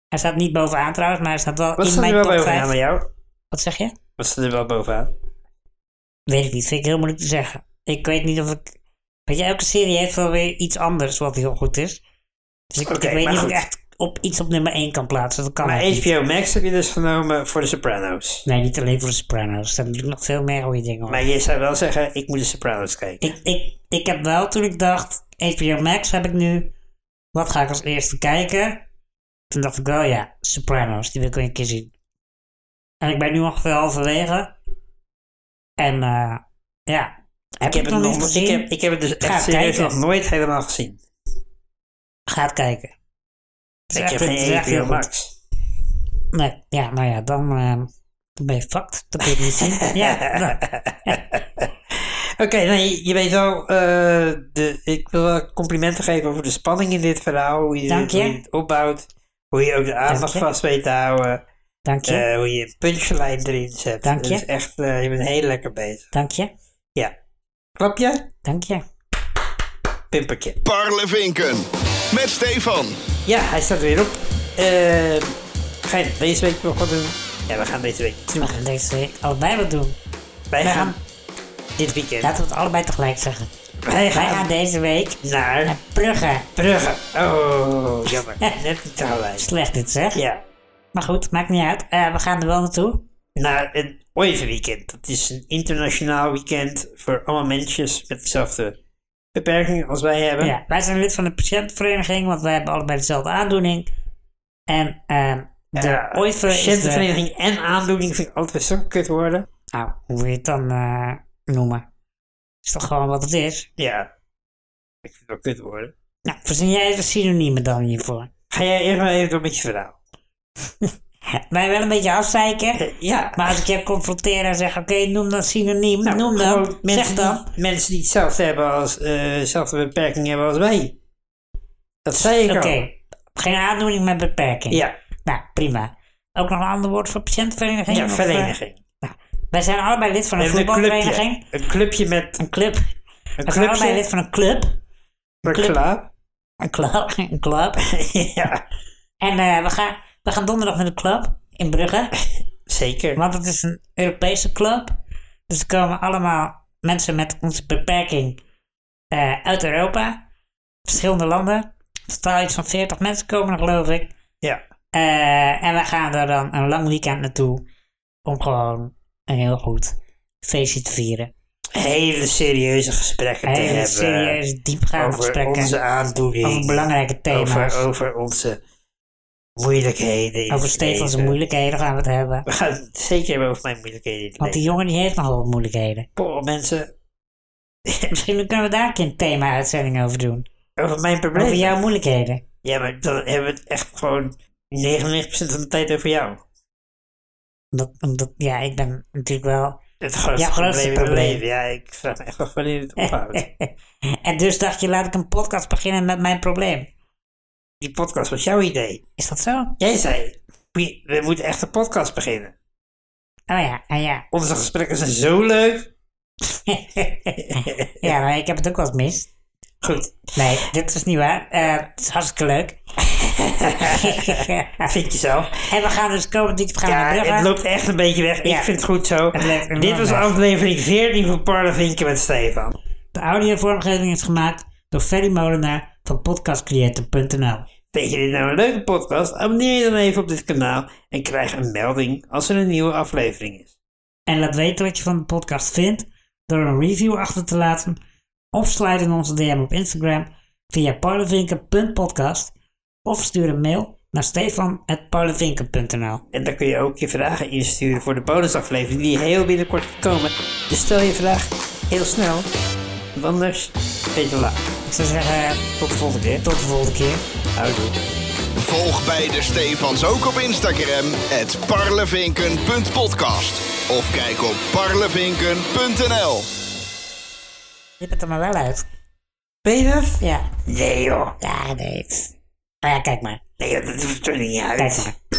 Speaker 2: Hij staat niet bovenaan trouwens, maar hij staat wel
Speaker 1: Wat
Speaker 2: in
Speaker 1: staat er
Speaker 2: mijn
Speaker 1: wel
Speaker 2: top
Speaker 1: bovenaan
Speaker 2: 5.
Speaker 1: bij jou?
Speaker 2: Wat zeg je?
Speaker 1: Wat staat er wel bovenaan?
Speaker 2: Weet ik niet, vind ik heel moeilijk te zeggen. Ik weet niet of ik... Weet je, elke serie heeft wel weer iets anders wat heel goed is. Dus ik, ik
Speaker 1: Oké,
Speaker 2: weet
Speaker 1: maar
Speaker 2: niet of
Speaker 1: goed.
Speaker 2: ik echt op iets op nummer 1 kan plaatsen. Dat kan
Speaker 1: Maar
Speaker 2: echt niet.
Speaker 1: HBO Max heb je dus genomen voor de Sopranos.
Speaker 2: Nee, niet alleen voor de Sopranos. Er staan natuurlijk nog veel meer goede dingen op.
Speaker 1: Maar je zou wel zeggen, ik moet de Sopranos kijken.
Speaker 2: Ik, ik, ik heb wel toen ik dacht, HBO Max heb ik nu. Wat ga ik als eerste kijken? Toen dacht ik wel, ja, Sopranos, die wil ik wel een keer zien. En ik ben nu ongeveer halverwege. En eh ja,
Speaker 1: Ik
Speaker 2: heb je
Speaker 1: heb,
Speaker 2: het
Speaker 1: het
Speaker 2: nog niet
Speaker 1: nog, ik,
Speaker 2: gezien?
Speaker 1: heb, ik heb het dus
Speaker 2: Ga
Speaker 1: echt serieus nog
Speaker 2: kijken.
Speaker 1: nooit helemaal gezien.
Speaker 2: Ga het kijken. Het is
Speaker 1: Ik
Speaker 2: echt-
Speaker 1: heb
Speaker 2: het is
Speaker 1: geen
Speaker 2: echt heel
Speaker 1: HBO
Speaker 2: goed.
Speaker 1: Max.
Speaker 2: Nee, ja, nou ja, dan, eh, dan ben je fucked. Dat kun je het niet
Speaker 1: [laughs]
Speaker 2: zien. ja, nou,
Speaker 1: Oké, nee, je weet wel, eh, de, ik wil wel complimenten geven over de spanning in dit verhaal. Hoe je,
Speaker 2: Dank je.
Speaker 1: Hoe je het opbouwt. Hoe je ook de aandacht
Speaker 2: Dank je.
Speaker 1: vast weet te houden.
Speaker 2: dank je.
Speaker 1: eh, hoe je een punchline erin zet.
Speaker 2: Dank je.
Speaker 1: Dat is echt, eh, je bent heel lekker bezig.
Speaker 2: dank je.
Speaker 1: Ja. Klapje,
Speaker 2: Dank je.
Speaker 1: pimpertje.
Speaker 4: Parlevinken. Met Stefan.
Speaker 1: Ja, hij staat weer op. Eh, ga je deze week nog wat doen? Ja, we gaan deze week iets doen.
Speaker 2: We gaan deze week oh, allebei wat doen.
Speaker 1: Wij
Speaker 2: wij
Speaker 1: gaan dit weekend.
Speaker 2: Laten we het allebei tegelijk zeggen.
Speaker 1: wij
Speaker 2: Wij
Speaker 1: gaan
Speaker 2: gaan deze week
Speaker 1: naar
Speaker 2: naar Eh, Brugge.
Speaker 1: Brugge. Oh,
Speaker 2: [laughs]
Speaker 1: jammer. Net niet tegelijk.
Speaker 2: Slecht dit zeg.
Speaker 1: Ja.
Speaker 2: Maar goed, maakt niet uit. Eh, we gaan er wel naartoe.
Speaker 1: naar een weekend. Dat is een internationaal weekend voor allemaal mensen met dezelfde beperkingen als wij hebben.
Speaker 2: Ja, wij zijn lid van de patiëntenvereniging, want wij hebben allebei dezelfde aandoening. En ehm, de
Speaker 1: Ja,
Speaker 2: OIVE is de...
Speaker 1: patiëntenvereniging Eh, en aandoening vind ik altijd zo'n kut worden.
Speaker 2: Nou, hoe wil je het dan eh, noemen? Is toch gewoon wat het is?
Speaker 1: Ja, ik vind het wel kut worden.
Speaker 2: Nou, verzin jij de synoniemen dan hiervoor?
Speaker 1: Ga jij eerst maar even door met je verhaal. Eh,
Speaker 2: Wij wel een beetje afzeiken,
Speaker 1: Ja,
Speaker 2: maar als ik je confronteer en zeg, oké, noem dat synoniem,
Speaker 1: nou,
Speaker 2: noem
Speaker 1: gewoon
Speaker 2: dat, zeg
Speaker 1: mensen
Speaker 2: dan.
Speaker 1: Die, mensen die hetzelfde hebben als, eh, dezelfde beperkingen hebben als wij. Dat zei ik
Speaker 2: Oké,
Speaker 1: al.
Speaker 2: geen aandoening met beperking.
Speaker 1: Ja,
Speaker 2: Nou, prima. ook nog een ander woord voor patiëntenvereniging?
Speaker 1: Ja,
Speaker 2: Of, eh,
Speaker 1: vereniging.
Speaker 2: wij zijn allebei lid van
Speaker 1: We
Speaker 2: een
Speaker 1: hebben een clubje.
Speaker 2: voetbalvereniging.
Speaker 1: Een clubje met
Speaker 2: Een club.
Speaker 1: een
Speaker 2: We zijn allebei
Speaker 1: clubje.
Speaker 2: lid van een club. club.
Speaker 1: reclame.
Speaker 2: Een
Speaker 1: [laughs]
Speaker 2: club. Een club.
Speaker 1: ja,
Speaker 2: En eh, we, gaan, we gaan donderdag met een club in Brugge.
Speaker 1: zeker.
Speaker 2: Want het is een Europese club. Dus er komen allemaal mensen met onze beperking eh, uit Europa. Verschillende landen. Totaal iets van 40 mensen komen er, geloof ik.
Speaker 1: Ja.
Speaker 2: Eh, en we gaan er dan een lang weekend naartoe. Om gewoon een heel goed feestje te vieren.
Speaker 1: Hele serieuze gesprekken te
Speaker 2: Hele
Speaker 1: hebben.
Speaker 2: serieus diepgaande
Speaker 1: Over
Speaker 2: gesprekken.
Speaker 1: onze aandoening.
Speaker 2: over belangrijke thema's.
Speaker 1: Over,
Speaker 2: Over,
Speaker 1: over onze moeilijkheden. in het
Speaker 2: Stefan's
Speaker 1: leven.
Speaker 2: moeilijkheden gaan we het hebben.
Speaker 1: We gaan het zeker hebben over mijn moeilijkheden. in het
Speaker 2: Want die jongen die heeft nogal wat moeilijkheden.
Speaker 1: leven. Boah, mensen.
Speaker 2: Misschien kunnen we daar een keer een thema-uitzending over doen.
Speaker 1: Over mijn problemen.
Speaker 2: Over jouw moeilijkheden.
Speaker 1: Ja, maar dan hebben we het echt gewoon 99% van de tijd over jou.
Speaker 2: Omdat, omdat, ja, ik ben natuurlijk wel...
Speaker 1: Het grootste,
Speaker 2: Jouw grootste
Speaker 1: probleem in mijn
Speaker 2: probleem.
Speaker 1: leven. Ja, ik vraag me echt af wanneer het
Speaker 2: [laughs]
Speaker 1: ophoudt.
Speaker 2: en dus dacht je, laat ik een podcast beginnen met mijn probleem.
Speaker 1: Die podcast was jouw idee.
Speaker 2: Is dat zo? Oh
Speaker 1: Jij zei, we, we moeten echt een podcast beginnen.
Speaker 2: ja, ah ja.
Speaker 1: Onze gesprekken zijn zo leuk.
Speaker 2: ja, maar ik heb het ook wel eens mis.
Speaker 1: Goed,
Speaker 2: Nee, dit is niet waar. Eh, het is hartstikke
Speaker 1: [laughs]
Speaker 2: leuk. [laughs]
Speaker 1: vind je zelf.
Speaker 2: en we gaan dus komend weekend gaan we
Speaker 1: Ja,
Speaker 2: naar Brugge.
Speaker 1: het loopt echt een beetje weg.
Speaker 2: Ja.
Speaker 1: Ik vind het goed zo.
Speaker 2: Het loopt enorm
Speaker 1: Dit was
Speaker 2: weg.
Speaker 1: aflevering 14 van Parle Vinken met Stefan.
Speaker 2: De audiovormgeving is gemaakt door Ferry Molenaar van podcastcreator.nl.
Speaker 1: Vind je dit nou een leuke podcast? Abonneer je dan even op dit kanaal en krijg een melding als er een nieuwe aflevering is.
Speaker 2: En laat weten wat je van de podcast vindt door een review achter te laten of slide in onze DM op Instagram via parlevinken.podcast of stuur een mail naar stefan.parlevinken.nl.
Speaker 1: En dan kun je ook je vragen insturen voor de bonusaflevering die heel binnenkort gaat komen. Dus stel je vraag heel snel. Want anders weet je laat.
Speaker 2: Ik zou zeggen, eh,
Speaker 1: Tot de volgende keer.
Speaker 2: tot de volgende keer.
Speaker 1: Houdoe.
Speaker 4: Volg beide Stefans ook op Instagram, het parlevinken.podcast. Of kijk op parlevinken.nl.
Speaker 2: Je bent er maar wel uit.
Speaker 1: Ben je dat?
Speaker 2: Ja.
Speaker 1: Nee joh.
Speaker 2: Ja, nee. het- Nou ja, kijk maar.
Speaker 1: Nee joh, dat hoeft er niet uit.
Speaker 2: Kijk maar.